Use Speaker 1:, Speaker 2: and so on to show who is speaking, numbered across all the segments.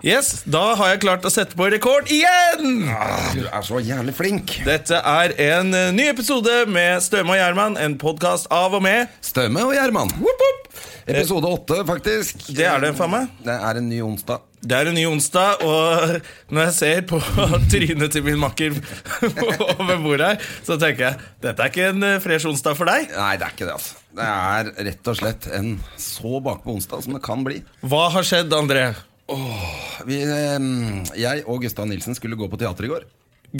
Speaker 1: Yes, Da har jeg klart å sette på rekord igjen!
Speaker 2: Du er så jævlig flink.
Speaker 1: Dette er en eh, ny episode med Støme og Gjerman, en podkast av og med.
Speaker 2: Stømme og Gjerman.
Speaker 1: Woop, woop.
Speaker 2: Episode åtte, faktisk.
Speaker 1: Det er det, faen meg.
Speaker 2: Det er en ny onsdag.
Speaker 1: Det er en ny onsdag, og når jeg ser på trynet til min makker over bordet her, så tenker jeg dette er ikke en eh, fresh onsdag for deg.
Speaker 2: Nei, det er ikke det, altså. Det er rett og slett en så bakpå onsdag som det kan bli.
Speaker 1: Hva har skjedd, André?
Speaker 2: Vi, eh, jeg og Gustav Nilsen skulle gå på teater i går.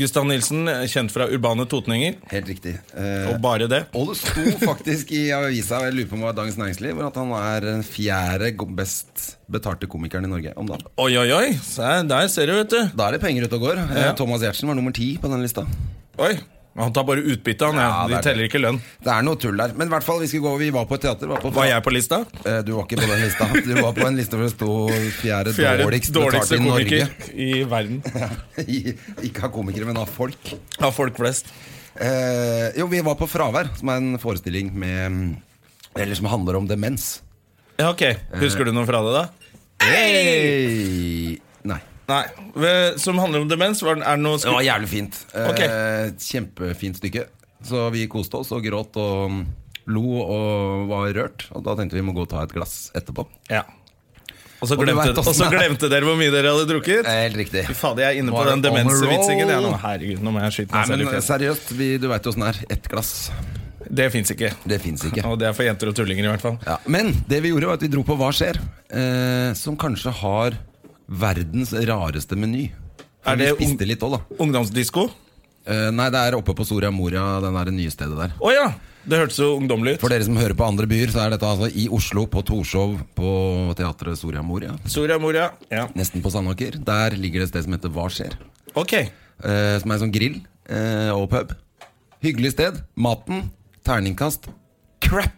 Speaker 1: Gustav Nilsen, eh, kjent fra Urbane Totninger,
Speaker 2: Helt riktig. Eh,
Speaker 1: og bare det.
Speaker 2: og det sto faktisk i avisa og jeg lurer på om det var Dagens Næringsliv hvor at han er den fjerde go- best betalte komikeren i Norge om dagen.
Speaker 1: Oi, oi, oi! se, Der ser du, vet du.
Speaker 2: Da er det penger ute og går. Eh,
Speaker 1: Ja.
Speaker 2: Thomas Giertsen var nummer ti på den lista.
Speaker 1: Oi, Han tar bare utbytte, han.
Speaker 2: Ja,
Speaker 1: Ja,
Speaker 2: det
Speaker 1: De
Speaker 2: er
Speaker 1: teller ikke lønn.
Speaker 2: Det er noe tull der. Men i hvert fall, vi, skulle gå, vi var på et teater. Var på
Speaker 1: Var jeg på lista?
Speaker 2: Eh, Du var ikke på den lista. Du var på en liste hvor det sto fjerde,
Speaker 1: Fjerde
Speaker 2: Eh, dårligst betalt
Speaker 1: dårligste
Speaker 2: i Norge.
Speaker 1: komiker i verden.
Speaker 2: I- ikke av komikere, men av folk.
Speaker 1: Av folk flest.
Speaker 2: Eh, jo, vi var på Fravær, som er en forestilling med mm, Eller som handler om demens.
Speaker 1: Ja, ok. Husker du noe fra det, da?
Speaker 2: Hey! Nei.
Speaker 1: Nei. Ve- Som handler om demens? Var den, er det noe
Speaker 2: Det
Speaker 1: sku...
Speaker 2: var jævlig fint. Eh,
Speaker 1: Ok.
Speaker 2: Kjempefint stykke. Så vi koste oss og gråt og mm, lo og var rørt. Og da tenkte vi må gå og ta et glass etterpå.
Speaker 1: Ja. Og så
Speaker 2: Og du
Speaker 1: glemte,
Speaker 2: vet
Speaker 1: og så
Speaker 2: åssen det er.
Speaker 1: glemte dere hvor mye dere hadde drukket?
Speaker 2: Eh, Helt riktig.
Speaker 1: Fy fader, jeg er inne på
Speaker 2: Var
Speaker 1: den
Speaker 2: det on a
Speaker 1: demensvitsingen. jeg
Speaker 2: roll?
Speaker 1: nå. herregud, nå må jeg skyte
Speaker 2: Nei,
Speaker 1: meg selv i
Speaker 2: men eh,
Speaker 1: fjeset.
Speaker 2: seriøst, vi, du veit åssen det er. Ett glass,
Speaker 1: Det fins ikke.
Speaker 2: det fins ikke.
Speaker 1: Og det er for jenter og tullinger, i hvert fall.
Speaker 2: Ja, men det vi gjorde var at vi dro på Hva skjer? Eh, som kanskje har verdens rareste meny.
Speaker 1: Er
Speaker 2: For vi
Speaker 1: det
Speaker 2: spiste
Speaker 1: ung-
Speaker 2: litt òg, da.
Speaker 1: Ungdomsdisko? Å
Speaker 2: Eh, nei, det er oppe på Soria Moria, den der, det nye stedet der.
Speaker 1: ja! Det hørtes så ungdommelig ut.
Speaker 2: For dere som hører på andre byer, så er dette altså i Oslo, på Torshov, på teatret Soria Moria.
Speaker 1: Soria Moria. Ja.
Speaker 2: Nesten på Sandåker. Der ligger det et sted som heter Hva skjer?
Speaker 1: Ok.
Speaker 2: Eh, som er en sånn grill eh, og pub. Hyggelig sted. Maten, terningkast, crap!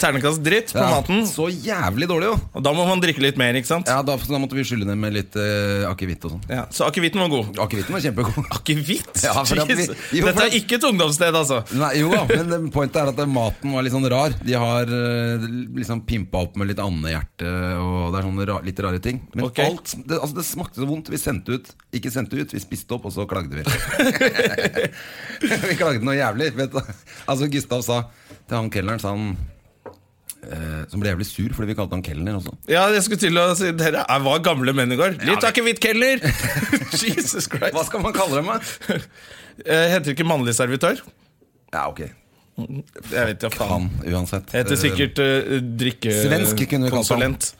Speaker 1: Ternekast dritt på
Speaker 2: Ja,
Speaker 1: maten.
Speaker 2: Så jævlig dårlig, jo!
Speaker 1: Og da må man drikke litt mer, ikke sant?
Speaker 2: Ja, da, så da måtte vi skylle ned med litt eh, akevitt og sånn.
Speaker 1: Ja, Så akevitten var god.
Speaker 2: Akevitten var kjempegod.
Speaker 1: Akevitt?
Speaker 2: Ja, for at vi-
Speaker 1: Jesus.
Speaker 2: jo, for
Speaker 1: Dette
Speaker 2: at-
Speaker 1: er ikke et ungdomssted, altså.
Speaker 2: Nei, jo da, men det- pointet er at det- maten var litt sånn rar. De har eh, liksom pimpa opp med litt andehjerte og det er sånne ra litt rare ting. Men
Speaker 1: Ok.
Speaker 2: alt det, altså, det smakte så vondt. Vi sendte ut, ikke sendte ut, vi spiste opp, og så klagde vi. vi klagde noe jævlig. Vet du. Altså, Gustav sa til han kelneren sa han, eh, som ble jævlig sur fordi vi kalte han kelner også.
Speaker 1: Ja, jeg skulle til å si Dere er- var gamle menn i går. Litt akevittkeller! Jesus Christ.
Speaker 2: Hva skal man kalle dem, da?
Speaker 1: Jeg heter ikke mannlig servitør.
Speaker 2: Ja, ok.
Speaker 1: Jeg vet ja, faen.
Speaker 2: Han, uansett.
Speaker 1: Jeg heter sikkert uh,
Speaker 2: Eh, Svensk kunne vi kalt han.
Speaker 1: drikkekonsulent.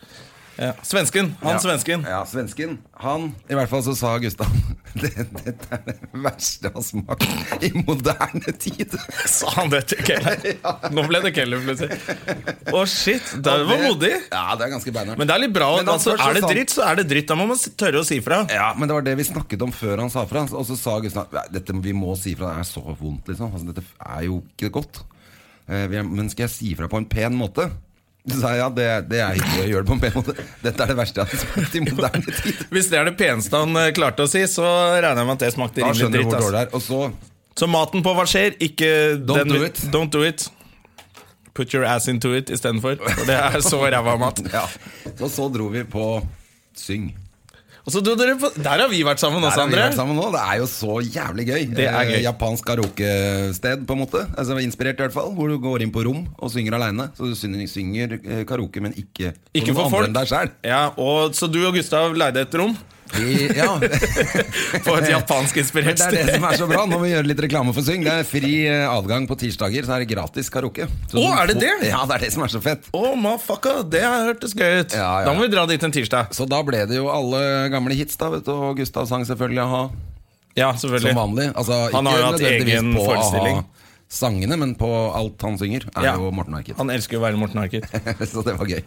Speaker 1: Ja. Svensken. Han
Speaker 2: Ja.
Speaker 1: svensken.
Speaker 2: Ja, svensken. Han I hvert fall så sa Gustav det, Dette er det verste jeg har smakt i moderne tid.
Speaker 1: Sa han det til Keller? Nå ble det Keller plutselig. Å, shit. Det var modig.
Speaker 2: Ja, det er ganske beinhardt.
Speaker 1: Men det er litt bra.
Speaker 2: Men han
Speaker 1: Altså,
Speaker 2: først så
Speaker 1: er det
Speaker 2: sa-
Speaker 1: dritt, så er det dritt. Da må man s- tørre å si fra.
Speaker 2: ja, men det var det vi snakket om før han sa fra. Og så sa Gustav "Nei, dette vi må si fra, det er så vondt, liksom. Altså, dette er jo ikke godt. Eh, vi er- Men skal jeg si fra på en pen måte? Så sa jeg ja, det, det er hyggelig å gjøre det på en pen måte. Dette er det verste jeg har smakt i moderne tid.
Speaker 1: Hvis det er det peneste han eh, klarte å si, så regner jeg med at det smakte
Speaker 2: Da
Speaker 1: rimelig
Speaker 2: skjønner du
Speaker 1: dritt. altså.
Speaker 2: hvor
Speaker 1: ass.
Speaker 2: dårlig det er. Og så
Speaker 1: Så maten på hva skjer, ikke
Speaker 2: Don't
Speaker 1: den,
Speaker 2: do it.
Speaker 1: Don't do it. Put your ass into it istedenfor. For det er så ræva mat.
Speaker 2: Ja. Og så dro vi på Syng.
Speaker 1: Og så dro dere på Der har vi vært sammen
Speaker 2: Der
Speaker 1: også,
Speaker 2: har vi
Speaker 1: André.
Speaker 2: vært sammen nå. Det er jo så jævlig gøy.
Speaker 1: Det er gøy.
Speaker 2: Eh, Japansk karaokested, på en måte. Altså Inspirert, i hvert fall. Hvor du går inn på rom og synger aleine. Så du synger, synger eh, karaoke, men ikke,
Speaker 1: Ikke for
Speaker 2: noen andre
Speaker 1: folk.
Speaker 2: enn deg selv
Speaker 1: Ja, og Så du og Gustav leide et rom
Speaker 2: I- Ja.
Speaker 1: på et
Speaker 2: Men
Speaker 1: japanskinspirert
Speaker 2: det er det
Speaker 1: sted?
Speaker 2: som er så bra. Nå må vi gjøre litt reklame for Syng. Det er fri eh, adgang på tirsdager, så er det gratis karaoke.
Speaker 1: Å,
Speaker 2: Så du
Speaker 1: er det
Speaker 2: får-
Speaker 1: det?
Speaker 2: Ja, det er det som er så fett.
Speaker 1: Oh, motherfucker, det har hørtes gøy ut.
Speaker 2: Ja, ja.
Speaker 1: Da må vi dra dit en tirsdag.
Speaker 2: Så da ble det jo alle gamle hits, da, vet du. Og Gustav sang selvfølgelig a-ha.
Speaker 1: Ja,
Speaker 2: Som
Speaker 1: selvfølgelig.
Speaker 2: vanlig. Altså,
Speaker 1: Han har
Speaker 2: ikke
Speaker 1: jo hatt
Speaker 2: nødvendigvis
Speaker 1: egen
Speaker 2: på
Speaker 1: forestilling.
Speaker 2: A-ha-sangene, men på alt han synger, er
Speaker 1: Ja.
Speaker 2: jo Morten Harket.
Speaker 1: Han elsker jo å være Morten Harket.
Speaker 2: Så det var gøy.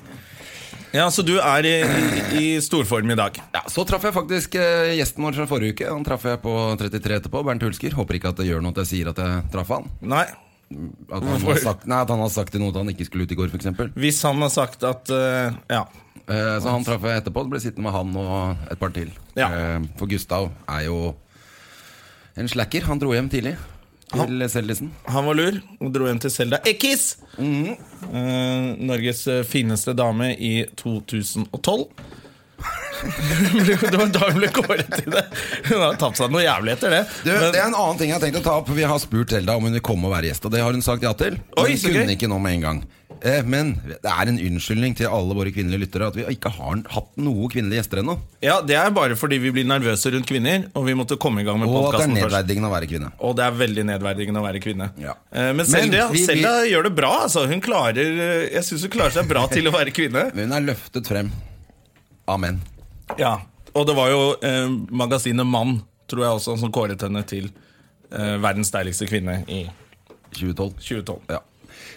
Speaker 1: Ja, Så du er i, i, i storform i dag.
Speaker 2: Ja, Så traff jeg faktisk eh, gjesten vår fra forrige uke. Han traff jeg på 33 etterpå. Bernt Hulsker. Håper ikke at det gjør noe at jeg sier at jeg traff han.
Speaker 1: Nei.
Speaker 2: At han
Speaker 1: Hvorfor?
Speaker 2: har sagt, nei, at han har sagt til noe at han ikke skulle ut i går, f.eks.
Speaker 1: Hvis han har sagt at eh, Ja.
Speaker 2: Eh, så han traff jeg etterpå. Det ble sittende med han og et par til.
Speaker 1: Ja.
Speaker 2: Eh, for Gustav er jo en slacker. Han dro hjem tidlig til Seldisen.
Speaker 1: Han var lur og dro hjem til Selda Ekiz. Eh, Norges eh, fineste dame i 2012. det var da hun ble kåret til det. Hun har tapt seg noe jævlig etter det.
Speaker 2: Du,
Speaker 1: Men-
Speaker 2: det er en annen ting jeg har tenkt å ta opp. for Vi har spurt Selda om hun vil komme og være gjest, og det har hun sagt ja til. Men
Speaker 1: Oi,
Speaker 2: hun
Speaker 1: så
Speaker 2: kunne
Speaker 1: gøy.
Speaker 2: ikke nå med en gang. Eh, men det er en unnskyldning til alle våre kvinnelige lyttere at vi ikke har hatt noen kvinnelige gjester ennå.
Speaker 1: ja, det er bare fordi vi blir nervøse rundt kvinner, og vi måtte komme i gang med
Speaker 2: Og at det er
Speaker 1: podkasten først.
Speaker 2: nedverdigende å være kvinne.
Speaker 1: Og det er veldig nedverdigende å være kvinne.
Speaker 2: Ja.
Speaker 1: Eh, Men
Speaker 2: Men
Speaker 1: Selda
Speaker 2: vi- vi-
Speaker 1: Selda gjør det bra. Altså. Hun klarer, eh, jeg syns hun klarer seg bra til å være kvinne.
Speaker 2: Men hun er løftet frem av menn.
Speaker 1: Ja, og det var jo eh, magasinet Mann, tror jeg også, som kåret henne til eh, verdens deiligste kvinne i
Speaker 2: 2012.
Speaker 1: 2012.
Speaker 2: Ja.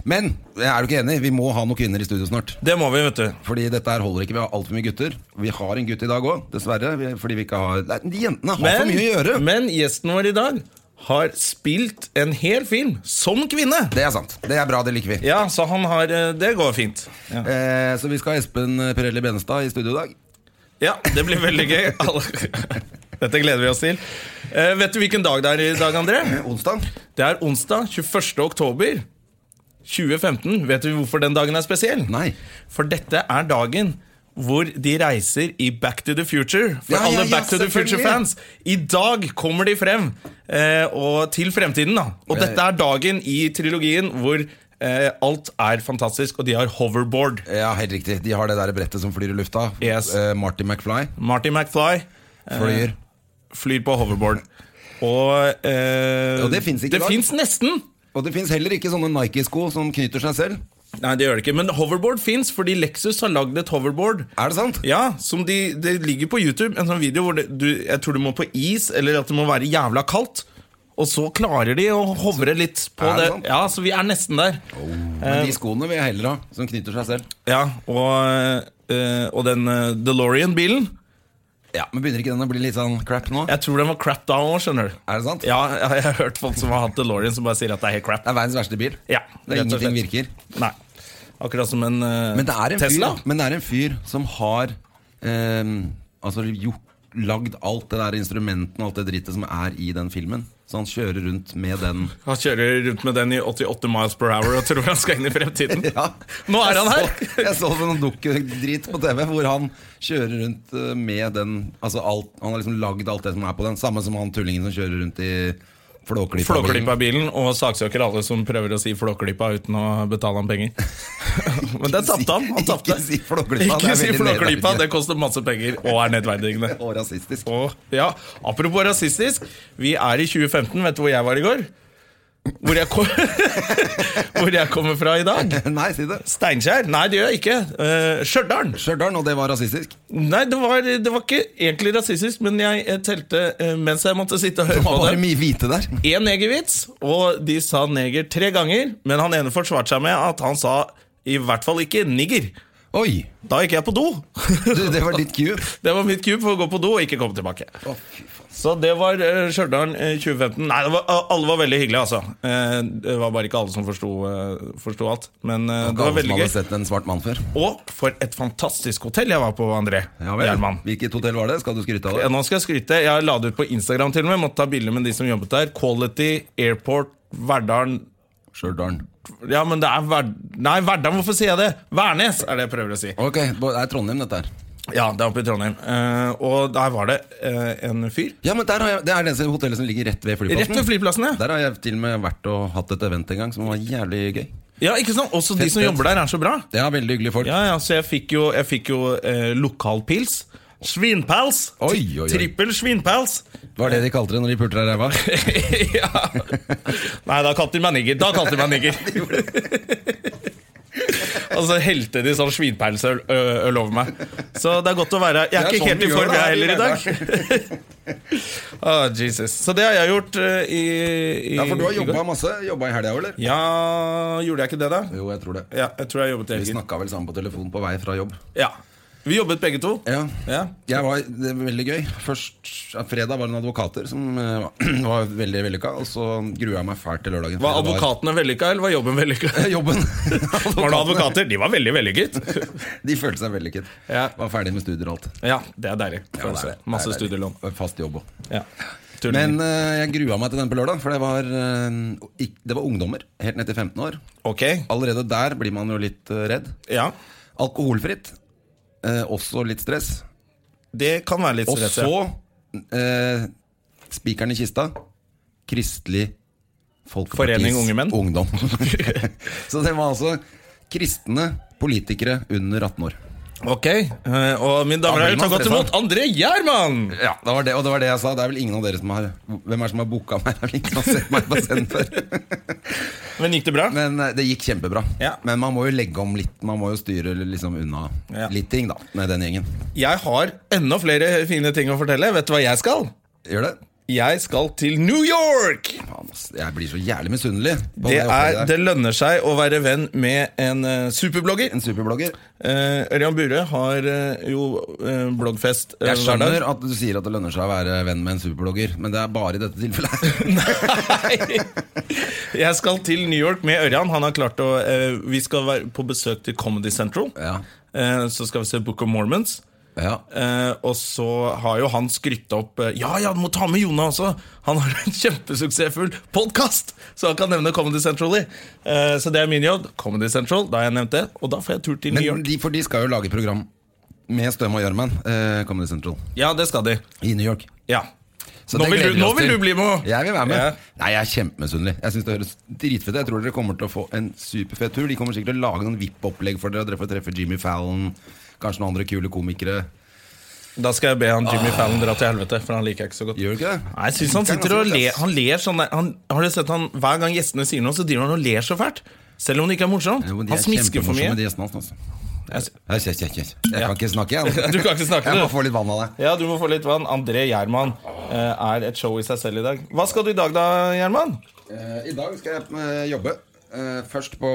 Speaker 2: Men jeg er du ikke enig? Vi må ha noen kvinner i studio snart.
Speaker 1: Det må vi, vet du.
Speaker 2: Fordi dette her holder ikke. Vi har altfor mye gutter. Vi har en gutt i dag òg, dessverre. vi- Fordi vi ikke har Nei, De jentene har for mye å gjøre.
Speaker 1: men gjesten vår i dag har spilt en hel film som kvinne.
Speaker 2: Det er sant. Det er bra. Det liker vi.
Speaker 1: Ja, så han har eh, Det går fint. Ja,
Speaker 2: Eh, så vi skal ha Espen Pirelli Benestad i studio i dag.
Speaker 1: ja det blir veldig gøy. Alle- Dette gleder vi oss til. Eh, vet du hvilken dag det er i dag, André?
Speaker 2: Onsdag.
Speaker 1: Det er onsdag 21. oktober 2015. Vet du hvorfor den dagen er spesiell?
Speaker 2: Nei.
Speaker 1: For dette er dagen hvor de reiser i Back to the Future. For
Speaker 2: Ja, ja,
Speaker 1: alle
Speaker 2: ja,
Speaker 1: Back to the
Speaker 2: selvfølgelig.
Speaker 1: Future-fans. I dag kommer de frem eh, og til fremtiden. da Og
Speaker 2: Eh.
Speaker 1: dette er dagen i trilogien hvor eh, alt er fantastisk, og de har hoverboard.
Speaker 2: Ja, helt riktig. De har det der brettet som flyr i lufta.
Speaker 1: Yes.
Speaker 2: Eh, Marty McFly
Speaker 1: Marty McFly eh,
Speaker 2: fløyer.
Speaker 1: flyr på hoverboard. Og eh,
Speaker 2: Og det finnes ikke
Speaker 1: det
Speaker 2: i dag.
Speaker 1: finnes nesten!
Speaker 2: Og det fins heller ikke sånne Nike-sko som knyter seg selv.
Speaker 1: Nei, det gjør det ikke. Men hoverboard fins, fordi Lexus har lagd et hoverboard.
Speaker 2: Er det sant?
Speaker 1: Ja, som de, det ligger på YouTube en sånn video hvor det, du, jeg tror du må på is, eller at det må være jævla kaldt. Og så klarer de å hovre litt på
Speaker 2: Er det
Speaker 1: det.
Speaker 2: sant? Oh.
Speaker 1: Ja, så vi er nesten der.
Speaker 2: Men de skoene vil jeg heller ha, som knyter seg selv.
Speaker 1: Ja, og, eh, og den eh, DeLorean-bilen,
Speaker 2: Ja, Men begynner ikke den å bli litt sånn crap nå?
Speaker 1: jeg tror den var crap da òg, skjønner du.
Speaker 2: Er det sant?
Speaker 1: Ja, jeg, jeg har hørt folk som har hatt DeLorean som bare sier at det er helt crap.
Speaker 2: Det er verdens verste bil.
Speaker 1: Ja,
Speaker 2: det er
Speaker 1: rett og
Speaker 2: ingenting
Speaker 1: slett.
Speaker 2: virker.
Speaker 1: Nei. Akkurat som en, eh,
Speaker 2: Men det er en
Speaker 1: Tesla.
Speaker 2: fyr, men det er en fyr som har eh, altså gjort, lagd alt det der instrumenten og alt det drittet som er i den filmen. Så han kjører rundt med den.
Speaker 1: Han kjører rundt med den i 88 miles per hour og tror han skal inn i fremtiden. Nå er
Speaker 2: Jeg
Speaker 1: han her!
Speaker 2: Så, jeg så sånn dukkdrit på TV hvor han kjører rundt eh, med den Altså alt, Han har liksom lagd alt det som er på den. Samme som han tullingen som kjører rundt i
Speaker 1: Flåklypa
Speaker 2: Flåklypa-bilen.
Speaker 1: bilen og saksøker alle som prøver å si Flåklypa uten å betale ham penger. Men der tapte han. han tapte.
Speaker 2: Ikke si Flåklypa, det
Speaker 1: Ikke
Speaker 2: er
Speaker 1: si
Speaker 2: veldig
Speaker 1: Flåklypa,
Speaker 2: nedverdigende.
Speaker 1: det koster masse penger og er nedverdigende.
Speaker 2: Og rasistisk.
Speaker 1: Og, ja, apropos rasistisk, vi er i 2015. Vet du hvor jeg var i går? Hvor jeg, kom, hvor jeg kommer fra i dag?
Speaker 2: Nei, si det.
Speaker 1: Steinkjer? Nei, det gjør jeg ikke. Eh, Stjørdal.
Speaker 2: Stjørdal, og det var rasistisk.
Speaker 1: Nei, det var, det var ikke egentlig rasistisk, men jeg eh, telte eh, mens jeg måtte sitte og
Speaker 2: Det
Speaker 1: høre på
Speaker 2: var
Speaker 1: det
Speaker 2: bare mye hvite der.
Speaker 1: én negervits, og de sa neger tre ganger. Men han ene forsvarte seg med at han sa i hvert fall ikke nigger.
Speaker 2: Oi!
Speaker 1: Da gikk jeg på do.
Speaker 2: Du, det var ditt cue.
Speaker 1: Det var mitt kube for å gå på do og ikke komme tilbake.
Speaker 2: Å, fy faen.
Speaker 1: Så det var uh, Stjørdal eh, 2015. Nei, det var, alle var veldig hyggelige, altså. Eh, det var bare ikke alle som forsto eh, forsto alt. Men eh, det var
Speaker 2: Alle som
Speaker 1: veldig gøy.
Speaker 2: hadde sett en svart mann før.
Speaker 1: Og for et fantastisk hotell jeg var på, André
Speaker 2: Ja vel.
Speaker 1: Gjerman.
Speaker 2: Hvilket hotell var det? Skal du skryte av
Speaker 1: Ja,
Speaker 2: det?
Speaker 1: nå skal jeg skryte. Jeg la det ut på Instagram til og med. Måtte ta bilder med de som jobbet der. Quality, Airport, Verdalen
Speaker 2: Stjørdal.
Speaker 1: Ja, men det er Verd... Nei, Verdal, hvorfor sier jeg det? Værnes er det jeg prøver å si.
Speaker 2: Ok, det er Trondheim, dette her.
Speaker 1: Ja, det er oppe i Trondheim. Eh, og der var det eh, en fyr.
Speaker 2: Ja, men der har jeg, Det er det eneste hotellet som ligger rett ved flyplassen.
Speaker 1: Rett ved flyplassen, ja.
Speaker 2: Der har jeg til og med vært og hatt et event en gang som var jævlig gøy.
Speaker 1: Ja, ikke sant? Også de
Speaker 2: Fett,
Speaker 1: som
Speaker 2: fett.
Speaker 1: jobber der, er så bra.
Speaker 2: Ja, veldig hyggelige folk.
Speaker 1: Ja, ja, Så jeg fikk jo, jeg fikk jo eh, lokalpils. Svinpals!
Speaker 2: Oi, oi, oi.
Speaker 1: Trippel svinpals!
Speaker 2: Det var det de kalte det når de pulte deg i ræva.
Speaker 1: ja. Nei, da kalte de meg nigger. Da kalte de meg nigger. Og så helte de sånn svinpeileøl ø- øl over meg. Så det er godt å være Jeg er,
Speaker 2: Det er
Speaker 1: ikke
Speaker 2: sånn
Speaker 1: helt i
Speaker 2: du gjør
Speaker 1: form,
Speaker 2: det
Speaker 1: jeg
Speaker 2: her i
Speaker 1: heller, i dag. Ah, Jesus. Så det har jeg gjort ø, i, i
Speaker 2: Ja, for du har
Speaker 1: i
Speaker 2: jobba
Speaker 1: går.
Speaker 2: masse. Jobba i helga òg, eller?
Speaker 1: Ja, gjorde jeg ikke det, da?
Speaker 2: Jo, jeg tror det.
Speaker 1: Ja, jeg tror jeg jobbet i
Speaker 2: Vi
Speaker 1: helgen.
Speaker 2: snakka vel sammen på telefon på vei fra jobb.
Speaker 1: Ja. Vi jobbet begge to.
Speaker 2: Ja.
Speaker 1: Ja.
Speaker 2: Jeg var, det var veldig gøy. Først ja, Fredag var det en advokater som eh, var veldig vellykka, og så grua jeg meg fælt til lørdagen.
Speaker 1: Var
Speaker 2: for det
Speaker 1: advokatene vellykka, eller var jobben vellykka?
Speaker 2: Eh, Jobben.
Speaker 1: Var det advokater? De var veldig vellykket.
Speaker 2: De følte seg vellykket.
Speaker 1: Ja.
Speaker 2: Var ferdig med studier og alt.
Speaker 1: Ja, det er deilig.
Speaker 2: Ja, det er
Speaker 1: Masse
Speaker 2: det. Det er deilig.
Speaker 1: studielån.
Speaker 2: Fast jobb òg.
Speaker 1: Ja.
Speaker 2: Men
Speaker 1: Tulling.
Speaker 2: eh, jeg grua meg til den på lørdag, for det var, eh, ikk- det var ungdommer helt ned til 15 år.
Speaker 1: Ok.
Speaker 2: Allerede der blir man jo litt eh, redd.
Speaker 1: Ja.
Speaker 2: Alkoholfritt. eh, også litt stress.
Speaker 1: Det kan være litt
Speaker 2: Og
Speaker 1: stress.
Speaker 2: så eh, spikeren i kista. Kristelig Folkepartis
Speaker 1: Forening Unge Menn.
Speaker 2: Ungdom. så det var altså kristne politikere under 18 år.
Speaker 1: Ok. eh, Og mine damer og
Speaker 2: Da blir
Speaker 1: herrer, ta
Speaker 2: man
Speaker 1: godt
Speaker 2: stressa.
Speaker 1: imot André Gjerman!
Speaker 2: Ja, det var det, og det var det jeg sa. Det er vel ingen av dere som har Hvem er det som har booka meg? Det er vel Ingen som har sett meg på scenen før.
Speaker 1: Men gikk det bra?
Speaker 2: Men eh, det gikk kjempebra.
Speaker 1: Ja.
Speaker 2: Men man må jo legge om litt. Man må jo styre liksom unna
Speaker 1: Ja.
Speaker 2: litt ting, da, med den gjengen.
Speaker 1: Jeg har enda flere fine ting å fortelle. Vet du hva jeg skal?
Speaker 2: Gjør det?
Speaker 1: Jeg skal til New York!
Speaker 2: Faen, ass. Jeg blir så jævlig misunnelig. på
Speaker 1: Det,
Speaker 2: opplegget
Speaker 1: er,
Speaker 2: der.
Speaker 1: det lønner seg å være venn med en eh, superblogger.
Speaker 2: En superblogger.
Speaker 1: Eh, Ørjan Bure har eh, jo eh, bloggfest eh, hver
Speaker 2: Jeg
Speaker 1: dag.
Speaker 2: skjønner at du sier at det lønner seg å være venn med en superblogger, men det er bare i dette tilfellet.
Speaker 1: Nei. Jeg skal til New York med Ørjan. Han har klart å eh, Vi skal være på besøk til Comedy Central.
Speaker 2: Ja.
Speaker 1: Eh, så skal vi se Book of Mormons.
Speaker 2: Ja.
Speaker 1: Eh, og så har jo han skrytt opp eh, Ja, ja, du må ta med Jona også! Han har en kjempesuksessfull podkast! Så han kan nevne Comedy Central i. Eh, så det er min jobb. Comedy Central, da har jeg nevnt det. Og da får jeg tur til New
Speaker 2: Men
Speaker 1: York.
Speaker 2: de, for de skal jo lage program med Støm og Gjørmen, eh, Comedy Central,
Speaker 1: Ja, det skal de.
Speaker 2: i New York.
Speaker 1: Ja.
Speaker 2: Så
Speaker 1: Nå
Speaker 2: det
Speaker 1: vil
Speaker 2: gleder
Speaker 1: du-
Speaker 2: vi
Speaker 1: nå
Speaker 2: oss
Speaker 1: vil
Speaker 2: til.
Speaker 1: du bli med.
Speaker 2: Jeg vil være med.
Speaker 1: Ja.
Speaker 2: Nei, Jeg er kjempemisunnelig. Jeg synes det høres dritfett ut. Jeg tror dere kommer til å få en superfet tur. De kommer sikkert til å lage noen VIP-opplegg for dere. Dere får treffe Jimmy Fallon, kanskje noen andre kule komikere.
Speaker 1: Da skal jeg be han Jimmy Fallon dra til helvete, for han liker jeg ikke så godt.
Speaker 2: Ah. Gjør du ikke det? altså
Speaker 1: Nei, jeg synes han sitter og ler, han ler sånn der- han, Har du sett han, hver gang gjestene sier noe Så driver han og ler så fælt Selv om det ikke er morsomt
Speaker 2: Jo, men de
Speaker 1: Han
Speaker 2: er
Speaker 1: smisker for mye
Speaker 2: kjempemorsomme, de gjestene hans, altså.
Speaker 1: Jeg s-
Speaker 2: Jeg, jeg, jeg, jeg, jeg kan ikke snakke, jeg. altså.
Speaker 1: Du kan ikke snakke,
Speaker 2: Jeg
Speaker 1: du.
Speaker 2: må få litt vann av deg.
Speaker 1: Ja, du må få litt vann André Gjerman eh, er et show i seg selv i dag Hva skal du i dag da, Gjerman?
Speaker 2: Eh, I dag skal jeg eh, jobbe. Eh, først på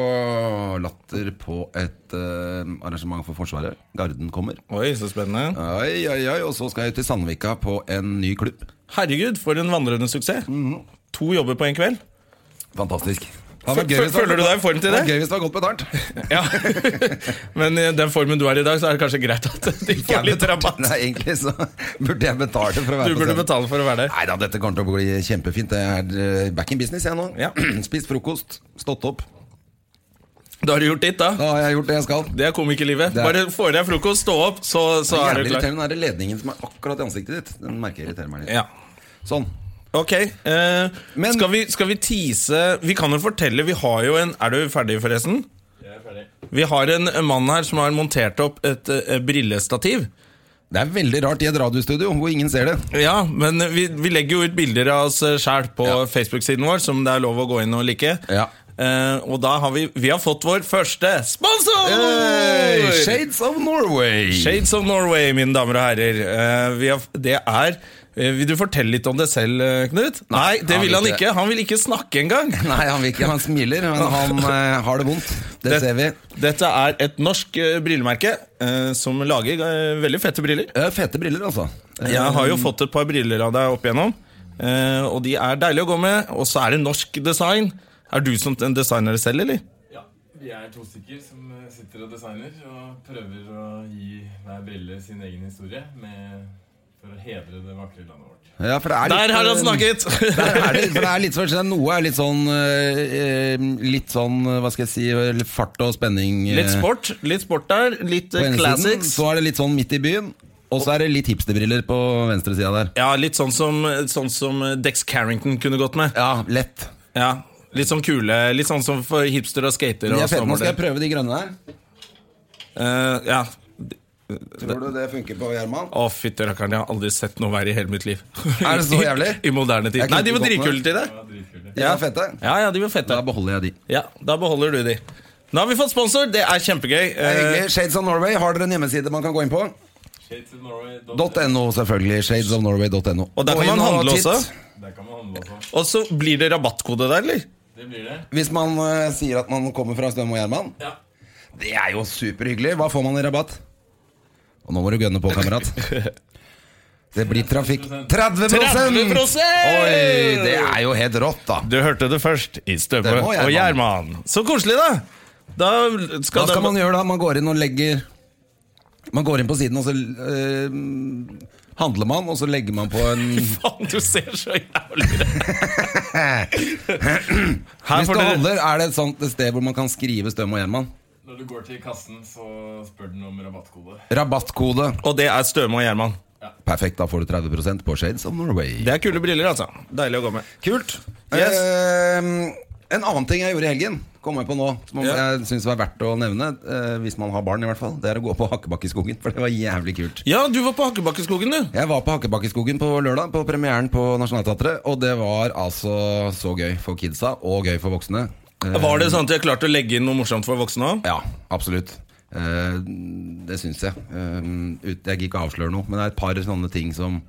Speaker 2: Latter på et eh, arrangement for Forsvaret. Garden kommer.
Speaker 1: Oi, så spennende
Speaker 2: Oi, oi, oi. Og så skal jeg til Sandvika på en ny klubb.
Speaker 1: Herregud, for en vandrende suksess
Speaker 2: Mhm.
Speaker 1: To jobber på en kveld
Speaker 2: Fantastisk.
Speaker 1: Fø- fø- føler du deg i form til det?
Speaker 2: Gøy hvis det var godt betalt.
Speaker 1: Ja Men i den formen du er i dag Så er det kanskje greit at de får litt rabatt
Speaker 2: Nei, egentlig så burde jeg betale for å være
Speaker 1: Du burde
Speaker 2: scenen.
Speaker 1: betale for å være der
Speaker 2: Nei da, dette kommer til å bli kjempefint. Jeg er eh, back in business, jeg nå.
Speaker 1: Ja.
Speaker 2: Spist frokost, stått opp.
Speaker 1: Da har du gjort ditt da
Speaker 2: Da har jeg gjort det jeg skal.
Speaker 1: Det er komikerlivet
Speaker 2: Det er-
Speaker 1: Bare får deg frokost, stå opp Så, så er
Speaker 2: Jævlig
Speaker 1: du klar
Speaker 2: irriterende er det ledningen som er akkurat i ansiktet ditt. Den merker jeg irriterer meg litt.
Speaker 1: Ja
Speaker 2: Sånn.
Speaker 1: Ok, eh,
Speaker 2: Men-
Speaker 1: skal, vi, skal vi tease Vi kan jo fortelle, vi har jo en Er du ferdig forresten? Vi har en mann her som har montert opp et eh, brillestativ
Speaker 2: Det er veldig rart i et radiostudio hvor ingen ser det.
Speaker 1: Ja, men vi, vi legger jo ut bilder av oss eh, selv på
Speaker 2: Ja.
Speaker 1: Facebook-siden vår Som det er lov å gå inn og like
Speaker 2: Ja.
Speaker 1: Eh, Og da har vi, vi har fått vår første sponsor!
Speaker 2: Hey, Shades of Norway!
Speaker 1: Shades of Norway, mine damer og herrer. Eh, vi har, det er eh, Vil du fortelle litt om det selv, eh, Knut? Nei, det
Speaker 2: han
Speaker 1: vil
Speaker 2: vil
Speaker 1: han
Speaker 2: ikke.
Speaker 1: ikke. Han vil ikke snakke engang.
Speaker 2: Nei, han vil ikke. Han smiler, men han eh, har det vondt. Det,
Speaker 1: Det-
Speaker 2: ser vi.
Speaker 1: Dette er et norsk eh, brillemerke eh, som lager eh, veldig fette briller.
Speaker 2: Eh, fete briller, altså. Eh,
Speaker 1: Jeg har jo fått et par briller av deg opp igjennom, eh, og de er deilige å gå med. Og så er det norsk design. Er du som en designer selv, eller?
Speaker 3: Ja, vi er to stykker som eh, sitter og designer og prøver å gi hver brille sin egen historie med, for å hedre det vakre landet vårt.
Speaker 2: Ja, for det er litt,
Speaker 1: Der har han
Speaker 2: eh,
Speaker 1: snakket!
Speaker 2: Der er det, for det er litt sånn, Noe er litt sånn eh, eh, Litt sånn, hva skal jeg si, vel, fart og spenning. eh,
Speaker 1: Litt sport litt sport der. Litt
Speaker 2: på
Speaker 1: eh,
Speaker 2: ene siden.
Speaker 1: classics.
Speaker 2: Så er det litt sånn midt i byen. Og så er det litt hipsterbriller på venstre sida der.
Speaker 1: Ja, litt sånn som, sånn som Dex Carrington kunne gått med.
Speaker 2: Ja, lett.
Speaker 1: Ja, Litt sånn kule, litt sånn som for hipster og skater.
Speaker 2: De
Speaker 1: Og
Speaker 2: er fete. Nå skal jeg
Speaker 1: snowboarder.
Speaker 2: prøve de grønne der.
Speaker 1: Eh, ja.
Speaker 2: Tror du det funker på Gjerman?
Speaker 1: Å, fytti rakkeren, jeg har aldri sett noe verre i hele mitt liv.
Speaker 2: Er det så jævlig?
Speaker 1: I, i moderne tid.
Speaker 2: Jeg kunne
Speaker 1: Nei, de var
Speaker 2: ikke gått
Speaker 1: dritkule
Speaker 2: med.
Speaker 1: til det.
Speaker 3: Det var dritkule.
Speaker 2: De er fete.
Speaker 1: Ja, ja, de var
Speaker 2: Da
Speaker 1: fete.
Speaker 2: beholder jeg de.
Speaker 1: Ja, Da beholder du de. Nå har vi fått sponsor, det er kjempegøy.
Speaker 2: Det er
Speaker 1: Eh,
Speaker 2: hyggelig. Shades of Norway, har dere en hjemmeside man kan gå inn på?
Speaker 3: Shadesofnorway.no.
Speaker 2: .no, selvfølgelig. Shadesofnorway.no.
Speaker 1: Og der
Speaker 2: Gå
Speaker 1: kan man
Speaker 2: inn og
Speaker 1: handle
Speaker 2: titt.
Speaker 1: også.
Speaker 3: Der kan man handle også.
Speaker 1: Eh, Og så blir det rabattkode der, eller?
Speaker 3: Det blir det.
Speaker 2: Hvis man eh, sier at man kommer fra Støm og Gjerman,
Speaker 3: Ja.
Speaker 2: det er jo superhyggelig. Hva får man i rabatt? Og nå må du gønne på, kamerat. Det blir trafikk 30
Speaker 1: 30%!
Speaker 2: Oi, det er jo helt rått, da.
Speaker 1: Du hørte det først i Stømme
Speaker 2: Det må jeg,
Speaker 1: og
Speaker 2: mann.
Speaker 1: Gjerman. Så koselig, da! Da skal,
Speaker 2: Hva skal
Speaker 1: man
Speaker 2: man gjøre da? Man går inn og legger Man går inn på siden, og så eh, handler man, og så legger man på en
Speaker 1: Faen, du ser så jævlig ut! Her får
Speaker 2: Hvis du
Speaker 1: dere
Speaker 2: handler, er det et sånt sted hvor man kan skrive Støm og Gjerman?
Speaker 3: Når du går til kassen, så spør den om rabattkode.
Speaker 2: Rabattkode.
Speaker 1: Og det er Støme og Gjerman.
Speaker 2: Perfekt, da får du 30 på Shades of Norway.
Speaker 1: Det er kule briller, altså. Deilig å gå med.
Speaker 2: Kult.
Speaker 1: Yes.
Speaker 2: Eh, en annen ting jeg gjorde i helgen, kom jeg på nå, som om
Speaker 1: Ja.
Speaker 2: jeg syns var verdt å nevne, eh, hvis man har barn, i hvert fall, det er å gå på Hakkebakkeskogen. For det var jævlig kult.
Speaker 1: Ja, du var på Hakkebakkeskogen, du.
Speaker 2: Jeg var på Hakkebakkeskogen på lørdag, på premieren på Nationaltheatret. Og det var altså så gøy for kidsa, og gøy for voksne. Eh,
Speaker 1: Var det sånn at jeg klarte å legge inn noe morsomt for voksne òg?
Speaker 2: Ja, absolutt. Eh, det syns jeg. Eh, ut- jeg gikk ikke avsløre noe, men det er et par sånne ting som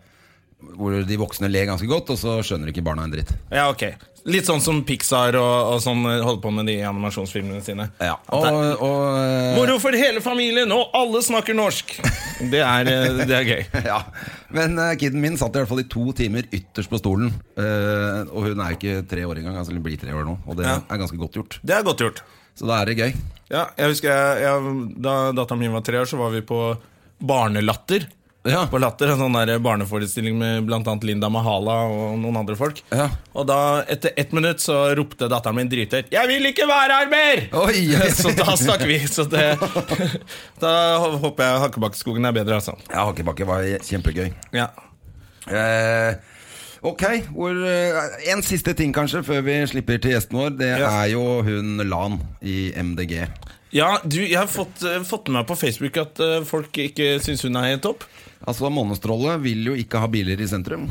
Speaker 2: hvor de voksne ler ganske godt, og så skjønner ikke barna en dritt.
Speaker 1: Ja, ok. Litt sånn som Pixar og, og sånn eh, holder på med de animasjonsfilmene sine.
Speaker 2: Og, og, eh,
Speaker 1: Moro for hele familien, og alle snakker norsk! Det er, eh, det er gøy.
Speaker 2: Ja, Men uh, kiden min satt i hvert fall i to timer ytterst på stolen. Eh, og hun er ikke tre år engang, altså hun blir tre år nå. Og det
Speaker 1: Ja.
Speaker 2: er ganske godt gjort.
Speaker 1: Det er godt gjort.
Speaker 2: Så da er det gøy.
Speaker 1: Ja, jeg husker jeg, jeg, Da datteren min var tre år, så var vi på Barnelatter.
Speaker 2: Ja.
Speaker 1: På Latter, En sånn der barneforestilling med bl.a. Linda Mahala og noen andre folk.
Speaker 2: Ja.
Speaker 1: Og da, etter ett minutt, så ropte datteren min drithøyt 'Jeg vil ikke være her mer!'
Speaker 2: Oi!
Speaker 1: Så da stakk vi. Så det, da håper jeg Hakkebakkeskogen er bedre, altså.
Speaker 2: Ja, Hakebakke var kjempegøy.
Speaker 1: Ja.
Speaker 2: Eh, ok, hvor, eh, en siste ting kanskje før vi slipper til gjesten vår. Det
Speaker 1: Ja.
Speaker 2: er jo hun Lan i MDG.
Speaker 1: Ja, du, Jeg har fått, eh, fått med meg på Facebook at eh, folk ikke syns hun er helt topp.
Speaker 2: Altså Månestråle vil jo ikke ha biler i sentrum.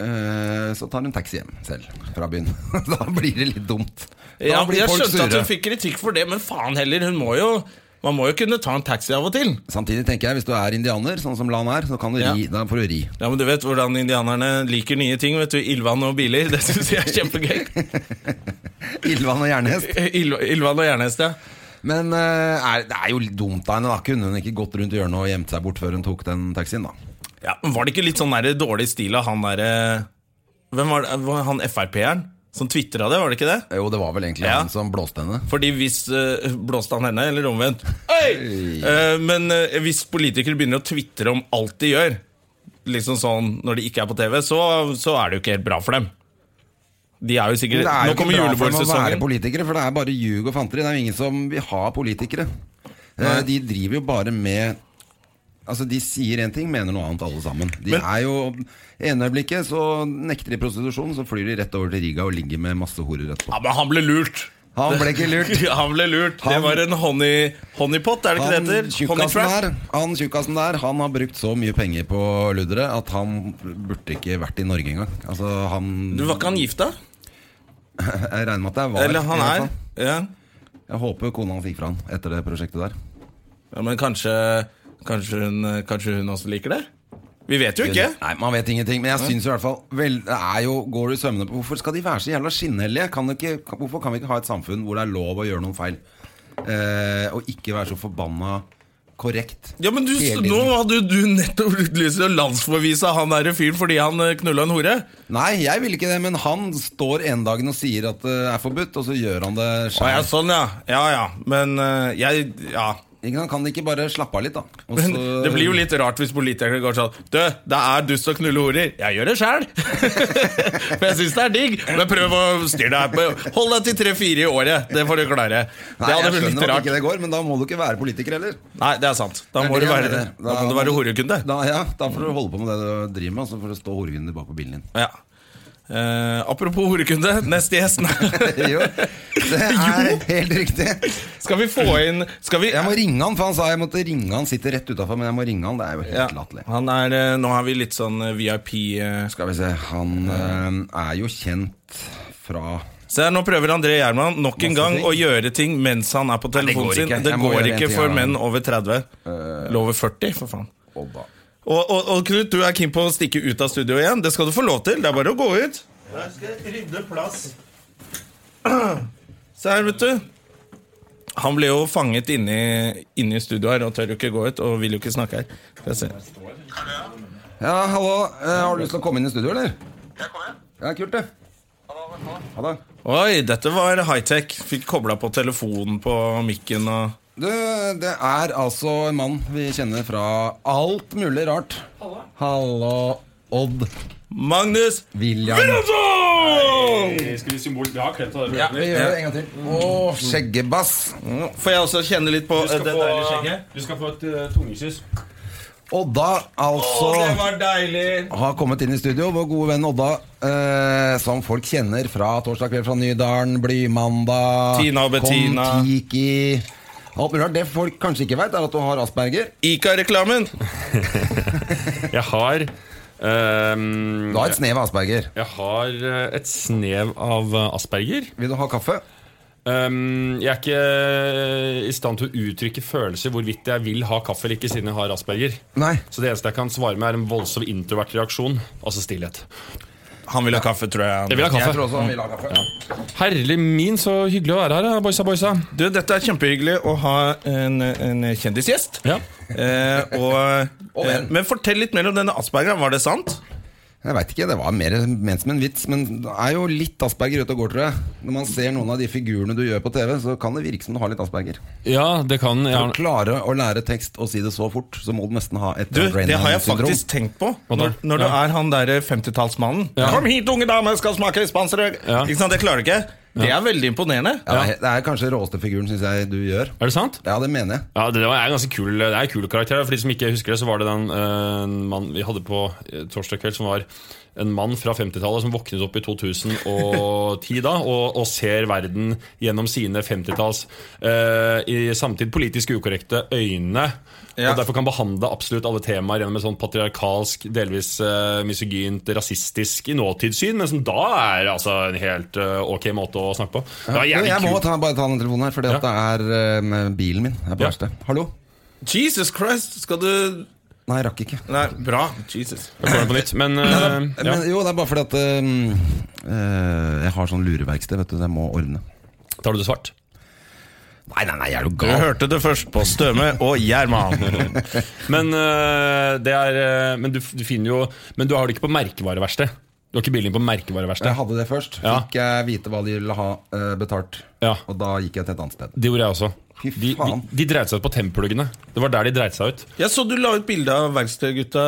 Speaker 2: Eh, Så tar hun taxi hjem selv fra byen. Da blir det litt dumt. Da
Speaker 1: Ja,
Speaker 2: blir
Speaker 1: jeg
Speaker 2: folk
Speaker 1: skjønte at
Speaker 2: sure.
Speaker 1: hun fikk kritikk for det, men faen heller. Hun må jo, man må jo kunne ta en taxi av og til.
Speaker 2: Samtidig tenker jeg, hvis du er indianer, sånn som Lan er, så kan du
Speaker 1: Ja.
Speaker 2: ri. Da får du ri.
Speaker 1: Ja, men Du vet hvordan indianerne liker nye ting. vet du, Ildvann og biler. Det syns jeg er kjempegøy.
Speaker 2: Ildvann og jernhest.
Speaker 1: Ild- Ildvann og jernhest, ja.
Speaker 2: Men eh, er, det er jo litt dumt av henne, da. Kunne hun ikke gått rundt hjørnet og gjemt seg bort før hun tok den taxien, da?
Speaker 1: ja. men Var det ikke litt sånn der, dårlig stil av han derre Hvem var det? Var Han Frp-eren som tvitra det, var det ikke det?
Speaker 2: Jo, det var vel egentlig
Speaker 1: Ja.
Speaker 2: han som blåste henne.
Speaker 1: Fordi hvis eh, Blåste han henne, eller omvendt? Oi! Eh, men eh, hvis politikere begynner å tvitre om alt de gjør, Liksom sånn når de ikke er på TV, så, så er det jo ikke helt bra for dem. De er jo
Speaker 2: Men
Speaker 1: sikkert
Speaker 2: Det er jo
Speaker 1: Nå
Speaker 2: ikke
Speaker 1: kommer
Speaker 2: bra for dem å være
Speaker 1: julebordsesongen.
Speaker 2: politikere, for det er bare ljug og fanteri. Det er jo ingen som vil ha politikere. Eh, De driver jo bare med Altså, De sier én ting, mener noe annet alle sammen. De
Speaker 1: Men-
Speaker 2: er jo ene øyeblikket så nekter de prostitusjon, så flyr de rett over til Riga og ligger med masse horer etterpå.
Speaker 1: Ja, men han ble lurt!
Speaker 2: Han ble ikke lurt.
Speaker 1: Ja, han ble lurt. det
Speaker 2: Han-
Speaker 1: var en honey, honeypot, er det ikke det
Speaker 2: Han
Speaker 1: heter?
Speaker 2: tjukkasen
Speaker 1: Honeytrap.
Speaker 2: der, han, tjukkasen der Han har brukt så mye penger på luddere At han burde ikke vært i Norge engang Altså han
Speaker 1: Du, var ikke han gift, da?
Speaker 2: Jeg regner med at jeg var
Speaker 1: Eller han
Speaker 2: i
Speaker 1: er?
Speaker 2: hvert fall.
Speaker 1: Ja.
Speaker 2: Jeg håper kona hans gikk fra han Etter det prosjektet der
Speaker 1: ja, Men kanskje, kanskje, hun, eh, kanskje hun også liker det? Vi vet jo ikke.
Speaker 2: Nei, man vet ingenting Men jeg synes i hvert fall vel, det er jo, Går du sømmende på Hvorfor skal de være så jævla skinnhellige? Kan du ikke, kan- hvorfor kan vi ikke ha et samfunn Hvor det er lov å gjøre noen feil eh, Og ikke være så forbanna korrekt
Speaker 1: Ja, men du,
Speaker 2: Hele
Speaker 1: Nå
Speaker 2: tiden.
Speaker 1: hadde jo du nettopp lyst til å landsforvise han derre fyren fordi han eh, knulla en hore.
Speaker 2: Nei, jeg vil ikke det, men han står en dagen og sier at det er forbudt, og så gjør han det
Speaker 1: Å, ja,
Speaker 2: sjøl.
Speaker 1: sånn, ja. Ja ja. Men eh, jeg Ja.
Speaker 2: Ikke sant? Kan de ikke bare slappe av litt, da? Og
Speaker 1: Men
Speaker 2: så-
Speaker 1: det blir jo litt rart hvis politikere går sånn Du, det er dust å knulle horer. Jeg gjør det sjæl! For jeg syns det er digg. Men prøv å styre deg. Hold deg til tre-fire i året. Det får du klare.
Speaker 2: Nei,
Speaker 1: Det hadde
Speaker 2: jeg
Speaker 1: vært
Speaker 2: skjønner
Speaker 1: litt
Speaker 2: at
Speaker 1: rart.
Speaker 2: ikke det går, men da må du ikke være politiker heller.
Speaker 1: Nei, det er sant. Da
Speaker 2: Det er
Speaker 1: må
Speaker 2: det
Speaker 1: du
Speaker 2: jeg
Speaker 1: være,
Speaker 2: mener.
Speaker 1: da må du være horekunde.
Speaker 2: Da, ja, da får du holde på med det du driver med, og så får du stå horekunde bak på bilen din.
Speaker 1: Ja. Eh, apropos horekunde, neste gjest
Speaker 2: Jo, det er helt riktig.
Speaker 1: Skal vi få inn Skal vi
Speaker 2: Jeg må ringe han, for han sa jeg måtte ringe han. Sitter rett utafor, men jeg må ringe han. Det er jo helt
Speaker 1: Ja,
Speaker 2: latterlig.
Speaker 1: han er, eh, Nå har vi litt sånn eh, VIP eh,
Speaker 2: Skal vi se, han eh, er jo kjent fra
Speaker 1: Se her, Nå prøver André Gjerman nok en
Speaker 2: Masse
Speaker 1: gang
Speaker 2: ting.
Speaker 1: å gjøre ting mens han er på
Speaker 2: det går
Speaker 1: telefonen sin.
Speaker 2: ikke.
Speaker 1: Det
Speaker 2: Jeg må
Speaker 1: går
Speaker 2: gjøre en
Speaker 1: ikke
Speaker 2: ting Eh.
Speaker 1: for
Speaker 2: her, da.
Speaker 1: menn over 30. Eller over 40, for faen.
Speaker 2: Og da.
Speaker 1: Og, og, og Knut, du er keen på å stikke ut av studio igjen. Det skal du få lov til. Det er bare å gå ut. Jeg skal rydde plass. Se her, vet du. Han ble jo fanget inne i- inne i studio her og tør jo ikke gå ut og vil jo ikke snakke her. Skal jeg se.
Speaker 2: Ja, hallo. Eh, har du lyst til å komme inn i studio, eller? Ja, kult, det. Ha det.
Speaker 1: Oi, dette var high-tech. Fikk kobla på telefonen på mikken og
Speaker 2: Du, det er altså en mann vi kjenner fra alt mulig rart. Hallo. Hallo, Odd
Speaker 1: Magnus!
Speaker 2: William.
Speaker 4: Eh, Skal vi symbol... Vi har klemt av det.
Speaker 2: Ja, vi gjør det en gang til. Å, skjeggebass.
Speaker 1: Mm. Får jeg også kjenne litt på eh,
Speaker 4: Du skal,
Speaker 1: det
Speaker 4: få,
Speaker 1: deilige skjegget?
Speaker 4: du skal få et eh, tungekyss.
Speaker 2: Odda, altså.
Speaker 1: var deilig!
Speaker 2: har kommet inn i studio, vår gode venn Odda, eh, som folk kjenner fra torsdag kveld fra Nydalen, Blymandag,
Speaker 1: Tina og Bettina.
Speaker 2: Kon-Tiki Alt mulig rart. Det folk kanskje ikke veit, er at du har Asperger.
Speaker 1: Ica-reklamen!
Speaker 4: Jeg har ehm,
Speaker 2: Du har et snev av Asperger.
Speaker 4: Jeg har eh, et snev av eh, asperger.
Speaker 2: Vil du ha kaffe?
Speaker 4: Ehm, jeg er ikke eh, i stand til å uttrykke følelser hvorvidt jeg vil ha kaffe eller ikke, siden jeg har asperger.
Speaker 2: Nei.
Speaker 4: Så det eneste jeg kan svare med, er en voldsom introvert reaksjon. Altså stillhet.
Speaker 1: Han vil ha kaffe, tror jeg.
Speaker 4: Jeg vil ha
Speaker 2: Jeg
Speaker 4: kaffe.
Speaker 2: tror også han vil ha kaffe.
Speaker 4: Herlig min, så hyggelig å være her, eh, boysa, boysa.
Speaker 1: Du, Dette er kjempehyggelig å ha en, en kjendisgjest.
Speaker 4: Ja.
Speaker 1: Eh, og,
Speaker 2: Og venn.
Speaker 1: eh, men fortell litt mer om denne aspergeren. Var det sant?
Speaker 2: Jeg veit ikke, det var mer ment som en vits, men det er jo litt Asperger ute og går, tror jeg. Når man ser noen av de figurene du gjør på TV, så kan det virke som du har litt Asperger.
Speaker 4: ja, det kan jeg.
Speaker 2: For å klare å lære tekst og si det så fort, så må du nesten ha et
Speaker 1: Du, Det har jeg
Speaker 2: Brennan-syndrom.
Speaker 1: faktisk tenkt på.
Speaker 4: Hva da?
Speaker 1: Når, når du
Speaker 4: Ja.
Speaker 1: er han derre 50-tallsmannen.
Speaker 4: Ja.
Speaker 1: 'Kom hit, unge dame, skal smake spanserøk!'
Speaker 4: Ja.
Speaker 1: Ikke sant, Det klarer du ikke. Det er veldig imponerende.
Speaker 2: Ja, det er- det er kanskje råeste figuren, syns jeg, du gjør.
Speaker 4: Er det sant?
Speaker 2: Ja, det mener jeg.
Speaker 4: Ja, det, det var en ganske kul, det er en kul karakter. For de som ikke husker det, så var det den eh, mann vi hadde på eh, torsdag kveld, som var en mann fra 50-tallet som våknet opp i 2010 da, og, og ser verden gjennom sine 50-talls eh, i samtid politisk ukorrekte øyne.
Speaker 1: Ja.
Speaker 4: Og derfor kan behandle absolutt alle temaer gjennom et sånn patriarkalsk, delvis eh, misogynt, rasistisk i nåtidssyn, men som da er altså en helt eh, ok måte å snakke på. Det var
Speaker 2: Du,
Speaker 4: jævlig
Speaker 2: jeg må
Speaker 4: kult.
Speaker 2: ta, bare ta den telefonen her, for det at det er eh, bilen min er
Speaker 4: Ja.
Speaker 2: på verksted. Hallo?
Speaker 1: Jesus Christ, skal du
Speaker 2: Nei, jeg rakk ikke.
Speaker 1: Nei, bra. Jesus.
Speaker 4: Jeg får den på nytt, men eh, ja.
Speaker 2: Men jo, det er bare fordi at eh, eh, jeg har sånn lureverksted, vet du. så Jeg må ordne.
Speaker 4: Tar du det svart?
Speaker 2: Nei, nei, nei, er du
Speaker 1: Du
Speaker 2: gal?
Speaker 1: hørte det først på Støme og Gjerman.
Speaker 4: Men, øh, det er, øh, men du, f- du finner jo Men du har det ikke på merkevareverksted. Du har ikke bilen din på
Speaker 2: Jeg
Speaker 4: merkevareverksted.
Speaker 2: hadde det først.
Speaker 4: Ja.
Speaker 2: Fikk jeg vite hva de ville ha eh, betalt.
Speaker 4: Ja.
Speaker 2: Og da gikk jeg til et annet sted.
Speaker 4: Det gjorde jeg også.
Speaker 2: Fy
Speaker 4: De, de,
Speaker 2: faen.
Speaker 4: de dreit seg ut på tempeluggene. Det var der de dreit seg ut.
Speaker 1: Jeg så du la ut bilde av verkstedgutta.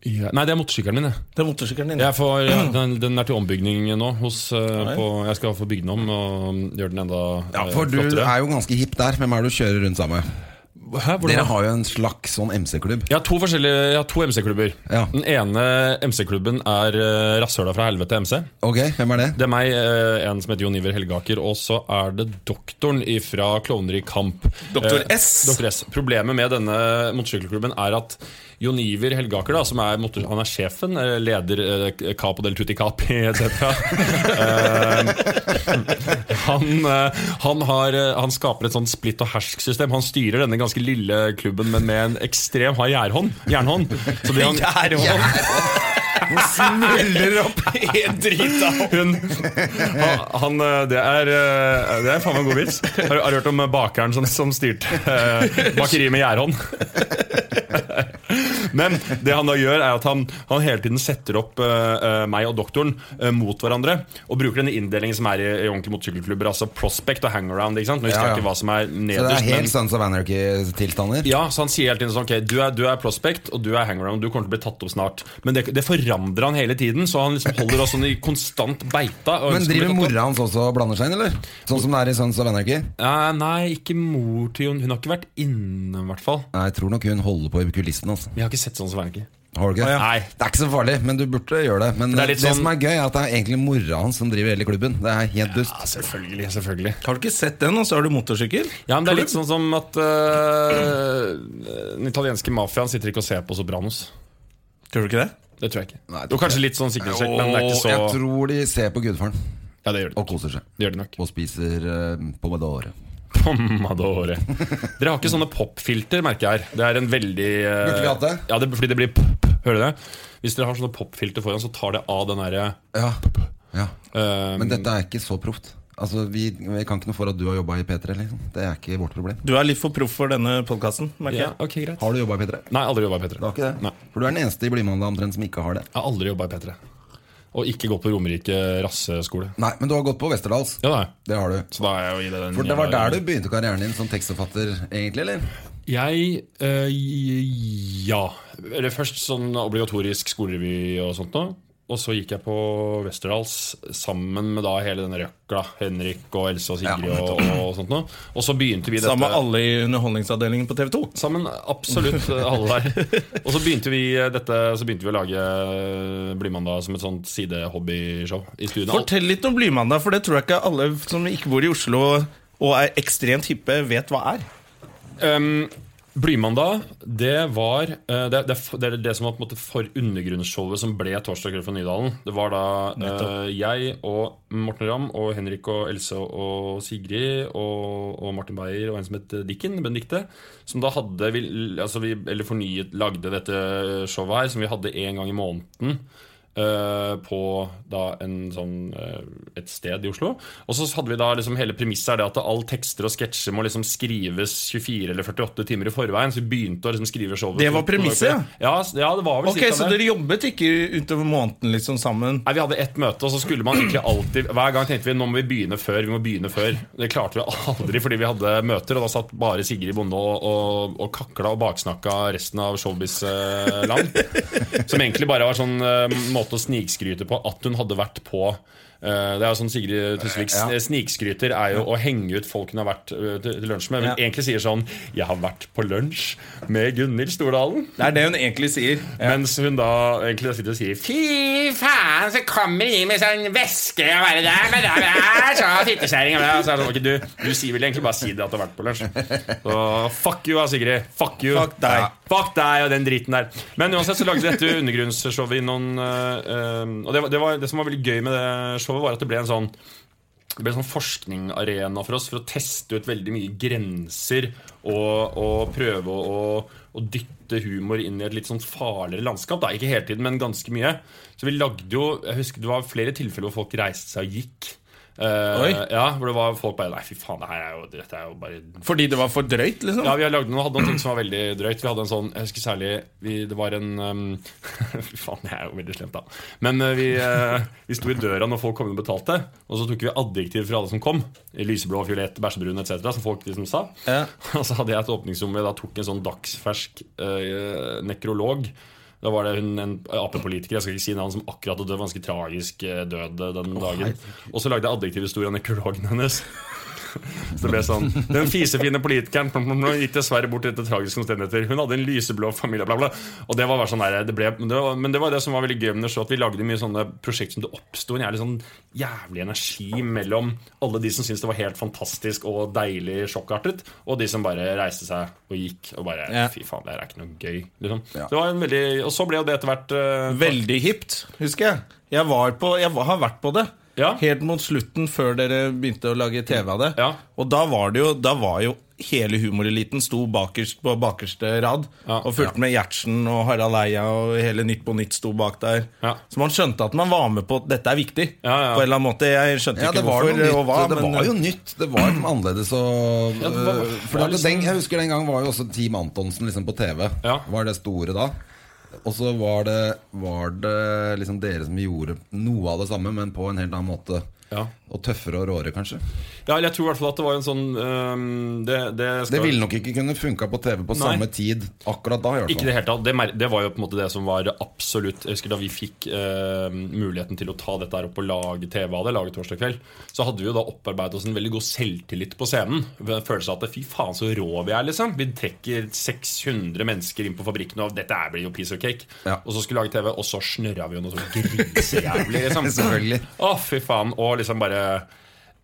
Speaker 4: Nei, det er motorsykkelen min. jeg.
Speaker 1: Det er motorsykkelen din.
Speaker 4: Jeg får, ja, den, den er til ombygging nå. Hos, øh, på, jeg skal få bygge den om og um, gjøre den enda
Speaker 2: Ja,
Speaker 4: øh,
Speaker 2: For du
Speaker 4: flottere.
Speaker 2: er jo ganske hipp der. Hvem er det du kjører rundt sammen med?
Speaker 4: Hæ, hvordan
Speaker 2: Dere
Speaker 4: da?
Speaker 2: har jo en slags sånn MC-klubb.
Speaker 4: Jeg har to forskjellige Jeg har to MC-klubber.
Speaker 2: Ja.
Speaker 4: Den ene MC-klubben er øh, Rasshøla fra helvete MC.
Speaker 2: Ok, hvem er det?
Speaker 4: Det er meg, eh, en som heter Jon Iver Helgaker, og så er det doktoren fra Klovner i kamp.
Speaker 1: Doktor
Speaker 4: Eh,
Speaker 1: S.
Speaker 4: Doktor S. Problemet med denne motorsykkelklubben er at Jon Iver Helgaker, da, som er, motor, han er sjefen, eh, leder eh, Capo del Tutti Capi etc. Eh, han, eh, han, har, eh, han skaper et sånt splitt og hersk-system. Han styrer denne ganske lille klubben, men med en ekstrem hard jernhånd. jernhånd. Så det han,
Speaker 1: Smeller opp helt drita.
Speaker 4: Hun han, han, eh, Det er eh, Det er faen meg en god vits. Har, har du hørt om eh, bakeren som, som styrte eh, bakeriet med gjærhånd? Men det han da gjør, er at han, han hele tiden setter opp eh, eh, meg og doktoren eh, mot hverandre. Og bruker denne inndelingen som er i, i ordentlige motorsykkelklubber. Altså prospect og hangaround. Ikke sant? Nå husker
Speaker 2: Ja, ja.
Speaker 4: jeg ikke hva som er
Speaker 2: Så det
Speaker 4: nederst.
Speaker 2: er helt
Speaker 4: men-
Speaker 2: Sons of Anarchy-tilstander?
Speaker 4: ja, så han sier hele tiden sånn Ok, du er, du er prospect, og du er hangaround, du kommer til å bli tatt opp snart. Men det, det forandrer han hele tiden, så han liksom holder oss sånn i konstant beita. og
Speaker 2: Men
Speaker 4: ønsker å bli tatt
Speaker 2: driver
Speaker 4: opp.
Speaker 2: mora hans også og blander seg inn, eller? Sånn som det er i Sons of Anarchy?
Speaker 4: Eh, nei, ikke mor til Jon. Hun har ikke vært inne, i hvert fall.
Speaker 2: Nei, Jeg tror nok hun holder på i kulissene. Altså.
Speaker 4: Vi har ikke sett sånn som Wernicke.
Speaker 2: Har du ikke?
Speaker 4: Å, ja. Nei.
Speaker 2: Det er ikke så farlig, men du burde gjøre det. Men
Speaker 4: Det
Speaker 2: det,
Speaker 4: er litt sånn-
Speaker 2: som er gøy, er at det er egentlig mora hans som driver hele klubben. Det er helt dust.
Speaker 4: altså, selvfølgelig. selvfølgelig
Speaker 1: Har du ikke sett den, og så har du motorsykkel?
Speaker 4: Ja, men Det er litt sånn som at eh, den italienske mafiaen sitter ikke og ser på Sopranos.
Speaker 1: Tror du ikke det?
Speaker 4: Det tror jeg ikke.
Speaker 2: Nei, det
Speaker 4: Jo,
Speaker 2: tror
Speaker 4: kanskje litt sånn sikkerhetssjekk, men det er ikke
Speaker 2: Og jeg
Speaker 4: så
Speaker 2: tror de ser på gudfaren.
Speaker 4: Ja, det gjør det.
Speaker 2: og koser seg.
Speaker 4: Det gjør det nok.
Speaker 2: Og spiser uh, pomodore.
Speaker 4: Pommadore. Dere har ikke sånne popfilter, merker jeg her. Det er en veldig eh,
Speaker 2: Burde vi hatt det?
Speaker 4: Ja, det, fordi det blir pop. Hører du det? Hvis dere har sånne popfilter foran, så tar det av den derre
Speaker 2: Ja. ja.
Speaker 4: eh,
Speaker 2: Men dette er ikke så proft. Altså, vi, vi kan ikke noe for at du har jobba i P3. Liksom. Det er ikke vårt problem.
Speaker 1: Du er litt for proff for denne podkasten, merker
Speaker 4: ja,
Speaker 1: jeg.
Speaker 4: ok, greit.
Speaker 2: Har du jobba i P3?
Speaker 4: Nei, aldri jobba i
Speaker 2: Du
Speaker 4: P3.
Speaker 2: har ikke det?
Speaker 4: Nei.
Speaker 2: For du er den eneste i Blimanda omtrent som ikke har det.
Speaker 4: Jeg har aldri jobba i P3. Og ikke gått på Romerike rasseskole.
Speaker 2: Nei, Men du har gått på Westerdals.
Speaker 4: Ja, da.
Speaker 2: Det har du.
Speaker 4: Så da er jeg jo i det den
Speaker 2: For det var der du begynte karrieren din som tekstforfatter, egentlig? eller?
Speaker 4: Jeg eh, ja. Eller først sånn obligatorisk skolerevy og sånt noe. Og så gikk jeg på Westerdals sammen med da hele den røkla. Henrik og Else og Sigrid
Speaker 2: Ja,
Speaker 4: og, og sånt noe. Og så begynte vi dette
Speaker 1: Sammen med alle i underholdningsavdelingen på TV 2.
Speaker 4: Sammen, absolutt eh, alle der. Og så begynte vi eh, dette Så begynte vi å lage Blymandag som et sånt sidehobbyshow i studio.
Speaker 1: Fortell litt om Blymandag, for det tror jeg ikke alle som ikke bor i Oslo og er ekstremt hippe, vet hva er.
Speaker 4: Um, Blymandag, det var eh, det, det, det er det som var på en måte for undergrunnsshowet som ble Torsdag kveld fra Nydalen. Det var da eh, jeg og Morten Ramm og Henrik og Else og Sigrid og, og Martin Beyer og en som het Dikken, Benedicte, som da hadde vi, altså vi, Eller fornyet, lagde dette showet her, som vi hadde én gang i måneden. eh, på da en sånn eh, et sted i Oslo. Og så hadde vi da liksom hele premisset er det at all tekster og sketsjer må liksom skrives 24 eller 48 timer i forveien. Så vi begynte å liksom skrive showet.
Speaker 1: Det var premisset, ja?
Speaker 4: ja? s- Ja, det var vel
Speaker 1: Ok,
Speaker 4: cirka
Speaker 1: Så
Speaker 4: det.
Speaker 1: dere jobbet ikke utover måneden liksom sammen?
Speaker 4: Nei, Vi hadde ett møte, og så skulle man egentlig alltid Hver gang tenkte vi nå må vi begynne før. vi må begynne før Det klarte vi aldri fordi vi hadde møter, og da satt bare Sigrid Bonde og, og, og kakla og baksnakka resten av Showbiz-land. som egentlig bare var sånn eh, måte å snikskryte på at hun hadde vært på eh, det er jo sånn Sigrid Tusvik
Speaker 2: Ja.
Speaker 4: Snikskryter er jo å henge ut folk hun har vært eh, til til lunsj med. Men
Speaker 1: Ja.
Speaker 4: egentlig sier sånn 'Jeg har vært på lunsj med Gunhild Stordalen'.
Speaker 1: Det er det hun egentlig sier.
Speaker 4: Mens hun da egentlig da sitter og sier Fy faen, så kommer de med sånn væske og bare der, men der, der, så fittekjerring og det», og så er det sånn, «Ok, du, du sier vel egentlig bare si det at du har vært på lunsj. Så fuck you, da, Sigrid. Fuck you.
Speaker 1: Fuck deg.
Speaker 4: Ja, fuck deg og den driten der. Men uansett så lagde dette undergrunnsshowet i noen eh, eh, Og det, var, det, var, det som var veldig gøy med det showet, var at det ble en sånn det ble en sånn forskningarena for oss for å teste ut veldig mye grenser og, og prøve å, å, å dytte humor inn i et litt sånn farligere landskap. Da. Ikke hele tiden, men ganske mye. Så vi lagde jo Jeg husker det var flere tilfeller hvor folk reiste seg og gikk. Eh,
Speaker 1: Oi.
Speaker 4: ja, hvor det var folk bare Nei, fy faen, det her er jo, dette er jo bare
Speaker 1: Fordi det var for drøyt, liksom?
Speaker 4: ja, vi har lagd noen, hadde noen ting som var veldig drøyt. Vi hadde en sånn, jeg husker særlig vi, Det var en um, Fy faen, det er jo veldig slemt, da. Men eh, vi, eh, vi sto i døra når folk kom inn og betalte, og så tok vi adjektiv fra alle som kom. I Lyseblå, fiolett, bæsjebrun etc., som folk liksom sa.
Speaker 1: Ja.
Speaker 4: Og så hadde jeg et åpningsrom hvor jeg da tok en sånn dagsfersk eh, nekrolog. Da var det hun, en Ap-politiker jeg skal ikke si navn, som akkurat hadde dødd. Ganske tragisk eh, død eh, den dagen. Og så lagde jeg adjektivet stor av nekrologen hennes. Så det ble sånn Den fisefine politikeren plom, plom, plom, gikk dessverre bort etter tragiske omstendigheter. Hun hadde en lyseblå familie, bla, bla. Og det var bare sånn der, det ble, men, det var, men det var det som var veldig gøy med det showet, at vi lagde mye sånne prosjekt som det oppsto en jævlig sånn jævlig energi mellom alle de som syntes det var helt fantastisk og deilig sjokkartet, og de som bare reiste seg og gikk og bare
Speaker 1: Ja.
Speaker 4: Fy faen, det her er ikke noe gøy. Liksom.
Speaker 2: Ja.
Speaker 4: Det var en veldig, og så ble jo det etter hvert eh,
Speaker 1: Veldig hipt, husker jeg. Jeg, var på, jeg var- har vært på det.
Speaker 4: Ja.
Speaker 1: Helt mot slutten, før dere begynte å lage TV av det.
Speaker 4: Ja.
Speaker 1: Og da var, det jo, da var jo hele humoreliten sto bakerst på bakerste rad
Speaker 4: Ja.
Speaker 1: og fulgte med Gjertsen og Harald Eia og hele Nytt på Nytt sto bak der.
Speaker 4: Ja.
Speaker 1: Så man skjønte at man var med på at dette er viktig.
Speaker 4: Ja, ja.
Speaker 1: På en eller annen måte. Jeg skjønte
Speaker 2: Ja,
Speaker 1: ikke
Speaker 2: det var, noe
Speaker 1: hvorfor
Speaker 2: nytt,
Speaker 1: og hva.
Speaker 2: det
Speaker 1: men-
Speaker 2: var jo nytt. Det var liksom annerledes og
Speaker 4: Ja, det var-
Speaker 2: øh,
Speaker 4: det
Speaker 2: fordi
Speaker 4: var
Speaker 2: at
Speaker 4: liksom-
Speaker 2: den, Jeg husker den gangen var jo også Team Antonsen liksom på TV.
Speaker 4: Ja.
Speaker 2: Var det store da. Og så var det, var det liksom dere som gjorde noe av det samme, men på en helt annen måte.
Speaker 4: Ja.
Speaker 2: Og tøffere og råere, kanskje.
Speaker 4: Ja, eller jeg tror i hvert fall at det var en sånn eh, det, det, skal,
Speaker 2: Det ville nok ikke kunne funka på TV på
Speaker 4: Nei.
Speaker 2: samme tid akkurat da. i hvert
Speaker 4: Ikke i det
Speaker 2: fall
Speaker 4: hele tatt. Det, mer- det var jo på en måte det som var absolutt Jeg husker da vi fikk eh, muligheten til å ta dette her opp og lage TV av det, lage Torsdag kveld, så hadde vi jo da opparbeidet oss en veldig god selvtillit på scenen. Følelsen av at fy faen, så rå vi er, liksom. Vi trekker 600 mennesker inn på fabrikken, og dette her blir jo piece of cake.
Speaker 2: Ja.
Speaker 4: Og så skulle vi lage TV, og så snørra vi jo noe sånn grisejævlig, liksom.
Speaker 2: Selvfølgelig.
Speaker 4: Å, fy faen. Og liksom bare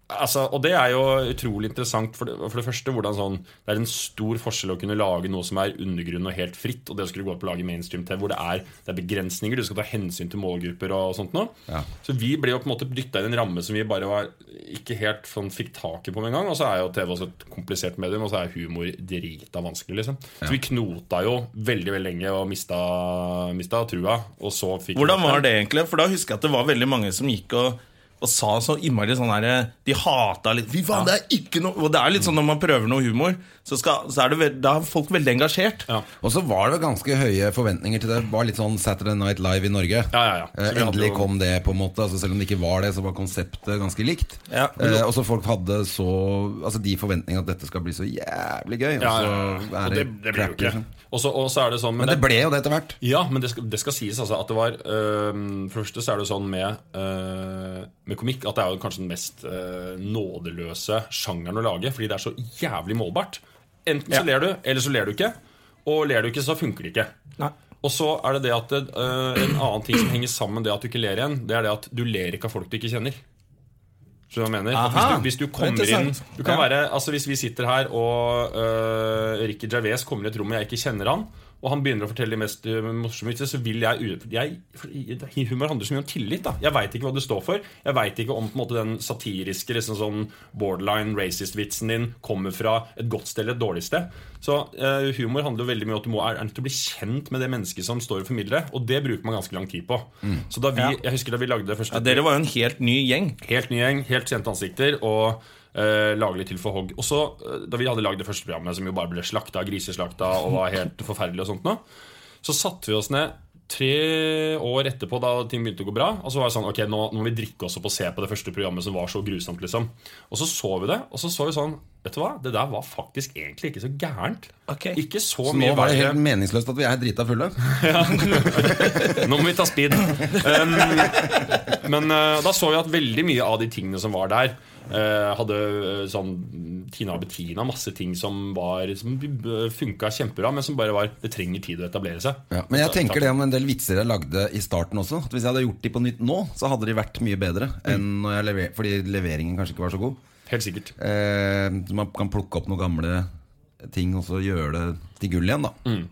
Speaker 4: Altså, og det er jo utrolig interessant, for det, for det første hvordan sånn Det er en stor forskjell å kunne lage noe som er undergrunn og helt fritt, og det å skulle gå opp og lage mainstream-TV hvor det er, det er begrensninger, du skal ta hensyn til målgrupper og sånt noe.
Speaker 2: Ja.
Speaker 4: Så vi ble jo på en måte dytta inn i en ramme som vi bare var, ikke helt sånn, fikk taket på med en gang. Og så er jo TV også et komplisert medium, og så er humor drita vanskelig, liksom. Så vi knota jo veldig, veldig lenge og mista, mista trua, og så fikk
Speaker 1: Hvordan var det egentlig? For da husker jeg at det var veldig mange som gikk og, og sa så innmari sånn her De hata litt Fy faen, det er ikke noe Og det er litt sånn når man prøver noe humor, så, skal, så er det veld, da er folk veldig engasjert.
Speaker 4: Ja.
Speaker 2: Og så var det ganske høye forventninger til det. Det var litt sånn Saturday Night Live i Norge.
Speaker 4: Ja, ja, ja. Så vi
Speaker 2: Eh,
Speaker 4: hadde
Speaker 2: Endelig
Speaker 4: jo-
Speaker 2: kom det, på en måte. Altså, selv om det ikke var det, så var konseptet ganske likt.
Speaker 1: Ja.
Speaker 2: Eh, og så folk hadde så Altså de forventningene at dette skal bli så jævlig gøy.
Speaker 4: Ja, ja,
Speaker 2: og
Speaker 4: ja.
Speaker 2: så Altså,
Speaker 4: Og
Speaker 2: er
Speaker 4: det, det ble jo
Speaker 2: crap,
Speaker 4: ikke.
Speaker 2: liksom.
Speaker 4: Og så, og så er det sånn
Speaker 2: Men det ble jo det etter hvert.
Speaker 4: Ja, men det skal, det skal sies altså at det var øhm, For det første så er det jo sånn med, øh, med komikk at det er jo kanskje den mest øh, nådeløse sjangeren å lage, fordi det er så jævlig målbart. Enten så ler du, eller så ler du ikke. Og ler du ikke, så funker det ikke.
Speaker 1: Nei.
Speaker 4: Og så er det det at øh, en annen ting som henger sammen med det at du ikke ler igjen, det er det at du ler ikke av folk du ikke kjenner. Skjønner du hva jeg mener?
Speaker 1: Aha.
Speaker 4: Hvis, du, hvis du
Speaker 1: Det
Speaker 4: kommer
Speaker 1: er
Speaker 4: inn
Speaker 1: interessant.
Speaker 4: du kan
Speaker 1: Ja.
Speaker 4: være, altså Hvis vi sitter her og øh, Ricky Gervais kommer i et rom og jeg ikke kjenner han, og han begynner å fortelle de mest øh, morsomme vitser, så vil jeg, u- jeg for i- Humor handler så mye om tillit. da Jeg veit ikke hva du står for. Jeg veit ikke om på en måte, den satiriske liksom sånn borderline racist-vitsen din kommer fra et godt sted eller et dårlig sted. Så øh, humor handler jo veldig mye om at du må er, er nødt til å bli kjent med det mennesket som står og formidler det, og det bruker man ganske lang tid på. Så da vi, Jeg husker da vi lagde det første
Speaker 1: Mm. Ja, dere var jo en helt ny gjeng.
Speaker 4: Helt ny gjeng, helt kjente ansikter og eh, lage litt til for hogg. Og så, eh, da vi hadde lagd det første programmet, som jo bare ble slakta, griseslakta og var helt forferdelig, og sånt nå, så satte vi oss ned tre år etterpå, da ting begynte å gå bra. Og så var det sånn, ok, nå, nå må vi drikke oss opp og se på det første programmet som var så grusomt. liksom Og så så vi det, og så så vi sånn Vet du hva, det der var faktisk egentlig ikke så gærent.
Speaker 1: Ok.
Speaker 4: Ikke så,
Speaker 2: Så nå
Speaker 4: mye
Speaker 2: var det
Speaker 4: verre.
Speaker 2: helt meningsløst at vi er drita fulle.
Speaker 4: Nå må vi ta speed. Um, men eh, da så vi at veldig mye av de tingene som var der, eh, hadde eh, sånn Tina og Bettina, masse ting som, var- som eh, funka kjempebra, men som bare var Det trenger tid å etablere seg.
Speaker 2: Ja, men jeg tenker det om en del vitser jeg lagde i starten også. At hvis jeg hadde gjort de på nytt nå, så hadde de vært mye bedre.
Speaker 4: Mm.
Speaker 2: Enn når jeg lever, fordi leveringen kanskje ikke var så god.
Speaker 4: Helt sikkert.
Speaker 2: Eh, så man kan plukke opp noen gamle ting og så gjøre det til gull igjen, da.
Speaker 4: Mm.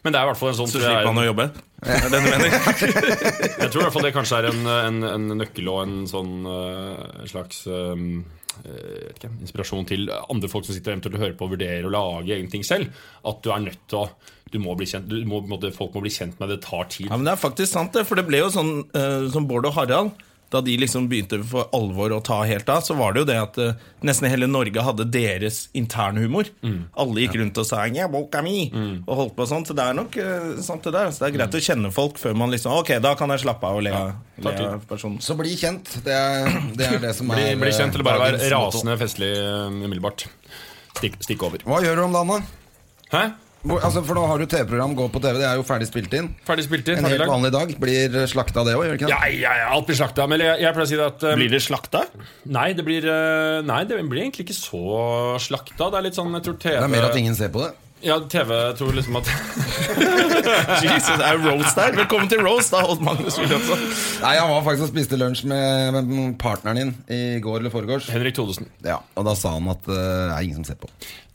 Speaker 4: Men det er i hvert fall en sånn
Speaker 1: Så
Speaker 4: tror jeg,
Speaker 1: slipper man å jobbe. Det er det du mener.
Speaker 4: Jeg tror i hvert fall det kanskje er en, en, en nøkkel og en sånn eh, en slags eh, eh, vet ikke, inspirasjon til andre folk som sitter eventuelt og hører på og vurderer å lage egne ting selv. At du er nødt til å du må bli kjent, du må, på en måte, Folk må bli kjent med det. Det tar tid.
Speaker 1: Ja, men Det er faktisk sant, det. For det ble jo sånn eh, som Bård og Harald. Da de liksom begynte for alvor å ta helt av, så var det jo det at eh, nesten hele Norge hadde deres internhumor. Alle gikk rundt og sa Mm. 'ja, boka mi' og holdt på sånn. Så det er nok eh, sant, det der. Så det er greit å kjenne folk før man liksom Ok, da kan jeg slappe av og le av- le
Speaker 4: tid.
Speaker 1: av personen.
Speaker 2: Så bli kjent. Det er det, er det som
Speaker 4: Bli,
Speaker 2: er eh,
Speaker 4: bli kjent, eller bare
Speaker 2: dagens
Speaker 4: være
Speaker 2: motto.
Speaker 4: rasende festlig eh, umiddelbart. Stikk, stikk over.
Speaker 2: Hva gjør du om dagen, da?
Speaker 4: Hæ?
Speaker 2: Hvor, altså, for nå har du TV-program, gå på TV, det er jo ferdig spilt inn.
Speaker 4: Ferdig spilt inn?
Speaker 2: En
Speaker 4: Ferdig
Speaker 2: helt
Speaker 4: lagd?
Speaker 2: vanlig dag blir slakta, det òg, gjør det ikke
Speaker 4: Ja,
Speaker 2: det?
Speaker 4: ja, ja, alt blir slakta. Men jeg, jeg pleier å si det at eh,
Speaker 1: Blir det slakta?
Speaker 4: Nei, det blir, eh, nei, det blir egentlig ikke så slakta. Det er litt sånn, jeg tror TV
Speaker 2: Det er mer at ingen ser på det.
Speaker 4: Ja, TV tror liksom at
Speaker 1: Jesus, det er roast der. Velkommen til roast, da, Odd Magnus Wilhelmsen.
Speaker 2: Nei, Han var faktisk og spiste lunsj med, med partneren din i går eller foregårs.
Speaker 4: Henrik Thodesen.
Speaker 2: Ja, og da sa han at eh, det er ingen som ser på.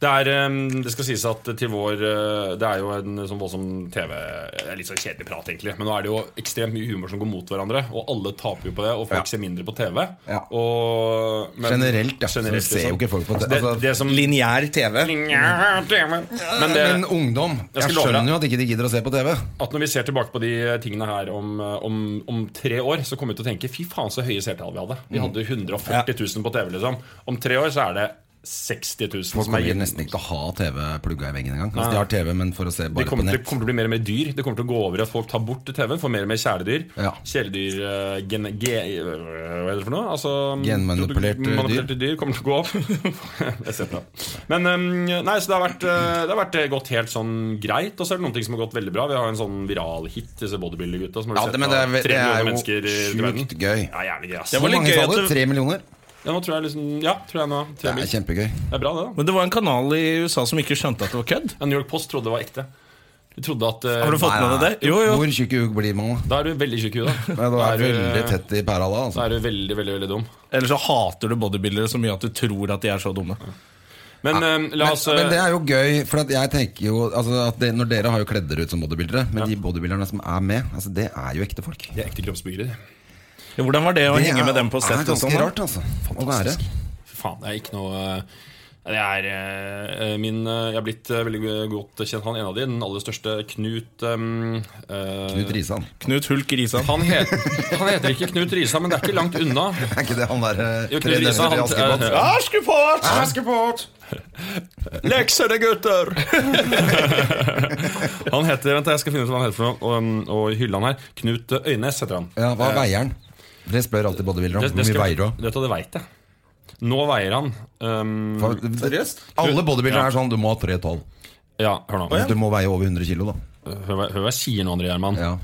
Speaker 4: Det, er, eh, det skal sies at til vår eh, Det er jo en sånn voldsom TV det er Litt sånn kjedelig prat, egentlig. Men nå er det jo ekstremt mye humor som går mot hverandre, og alle taper jo på det. Og folk
Speaker 2: Ja.
Speaker 4: ser mindre på TV.
Speaker 2: Ja.
Speaker 4: Og, men-
Speaker 2: Generelt, ja.
Speaker 4: Generelt,
Speaker 2: så ser jo
Speaker 4: liksom.
Speaker 2: ikke folk på det.
Speaker 4: det,
Speaker 2: Altså,
Speaker 4: det som
Speaker 1: Lineær TV.
Speaker 4: Men det,
Speaker 2: men ungdom
Speaker 4: Jeg
Speaker 2: Jeg
Speaker 4: skal love deg.
Speaker 2: skjønner jo at ikke de gidder å se på TV.
Speaker 4: at når vi ser tilbake på de eh, tingene her om, om, om tre år, så kommer vi til å tenke fy faen så høye seertall vi hadde.
Speaker 2: Mm.
Speaker 4: Vi hadde 140 000 på TV, liksom. Om tre år så er det 60 000
Speaker 2: Folk
Speaker 4: som er
Speaker 2: kommer jo
Speaker 4: igjen.
Speaker 2: nesten ikke til å ha TV plugga i veggen engang. Altså, de har TV, men for å se
Speaker 4: Det
Speaker 2: bare på
Speaker 4: kommer, til,
Speaker 2: nett.
Speaker 4: kommer til å bli mer og mer dyr. Det kommer til å gå over at folk tar bort TV-en, får mer og mer kjæledyr.
Speaker 2: Ja.
Speaker 4: Kjæledyr eh, gene, ge, øh, Hva er det for noe? Altså,
Speaker 2: Genmanipulerte
Speaker 4: produ- manipulerte dyr kommer til å gå opp. Et cetera. Men um, nei, så det har, vært, eh, det har vært eh, gått helt sånn greit. Og så er det noen ting som har gått veldig bra. Vi har en sånn viral hit, disse bodybuilder-gutta. som har
Speaker 2: Ja,
Speaker 4: sett
Speaker 2: det, men det
Speaker 4: av
Speaker 2: er, det
Speaker 4: 300
Speaker 2: er
Speaker 4: mennesker i
Speaker 2: jo
Speaker 4: verden.
Speaker 2: sjukt gøy.
Speaker 4: Ja, jævlig gøy, ass.
Speaker 1: Det
Speaker 2: Hvor
Speaker 1: var litt
Speaker 2: mange
Speaker 1: gøy
Speaker 2: sa
Speaker 1: at
Speaker 2: du?
Speaker 1: det,
Speaker 2: Tre millioner?
Speaker 4: Ja, nå tror jeg liksom Ja, tror jeg nå.
Speaker 2: Det
Speaker 4: Tre
Speaker 2: er
Speaker 4: mil.
Speaker 2: kjempegøy.
Speaker 4: Det er bra, det, da.
Speaker 1: Men det var en kanal i USA som ikke skjønte at det var kødd.
Speaker 4: Ja, New York Post trodde det var ekte. Du trodde at eh,
Speaker 1: Har du fått med deg det? Jo, jo.
Speaker 2: Hvor tjukk i hugg blir man? da?
Speaker 4: Da er du veldig tjukk i huet.
Speaker 2: Nei,
Speaker 4: Da.
Speaker 2: da
Speaker 4: Da
Speaker 2: er
Speaker 4: du-
Speaker 2: veldig tett i pæra da.
Speaker 4: Da
Speaker 2: Altså.
Speaker 4: er du veldig, veldig, veldig dum.
Speaker 1: Eller så hater du bodybuildere så mye at du tror at de er så dumme.
Speaker 4: Men eh, la
Speaker 2: Men,
Speaker 4: oss
Speaker 2: men det
Speaker 4: eh,
Speaker 2: er jo gøy, for at jeg tenker jo altså, at det, Når dere har jo kledd dere ut som bodybuildere, men de bodybuilderne som er med, altså, det er jo ekte folk.
Speaker 4: De er ekte kroppsbyggere.
Speaker 1: Ja, Hvordan var det å
Speaker 2: Det
Speaker 1: henge
Speaker 2: er-
Speaker 1: med dem på sett? og
Speaker 2: er ganske
Speaker 1: sånn, da?
Speaker 2: rart, altså. Å være.
Speaker 4: Fy faen, det er ikke noe eh, Det er eh, min eh, Jeg er blitt eh, veldig godt kjent Han ene av de, den aller største Knut um,
Speaker 2: Knut Risan.
Speaker 1: Knut Hulk Risan.
Speaker 4: han, het, han heter ikke Knut Risa, men det er ikke langt unna
Speaker 2: Er ikke det han der
Speaker 4: Jo,
Speaker 2: eh,
Speaker 4: Knut
Speaker 2: tre
Speaker 4: Risan,
Speaker 2: nøtter i
Speaker 4: han-
Speaker 2: Askepott?
Speaker 4: eh,
Speaker 1: Askepott!
Speaker 2: Askepott!
Speaker 4: Lekser det gutter Han heter, vent jeg skal finne ut hva han heter for noe Og, um, og hylle han her, Knut Øynes heter han
Speaker 2: Ja, hva veier han? Dere Eh, spør alltid bodybuildere om
Speaker 4: Det-
Speaker 2: hvor
Speaker 4: det
Speaker 2: mye
Speaker 4: skal-
Speaker 2: veier du?
Speaker 4: Dette det vet jeg Nå veier han ehm,
Speaker 2: Hva- Alle bodybuildere er sånn Du må ha 3,12.
Speaker 4: Ja, hør nå
Speaker 2: Du må veie over 100 kilo, da.
Speaker 4: Hør hva hør hva jeg sier nå, André Gjermann
Speaker 2: Ja.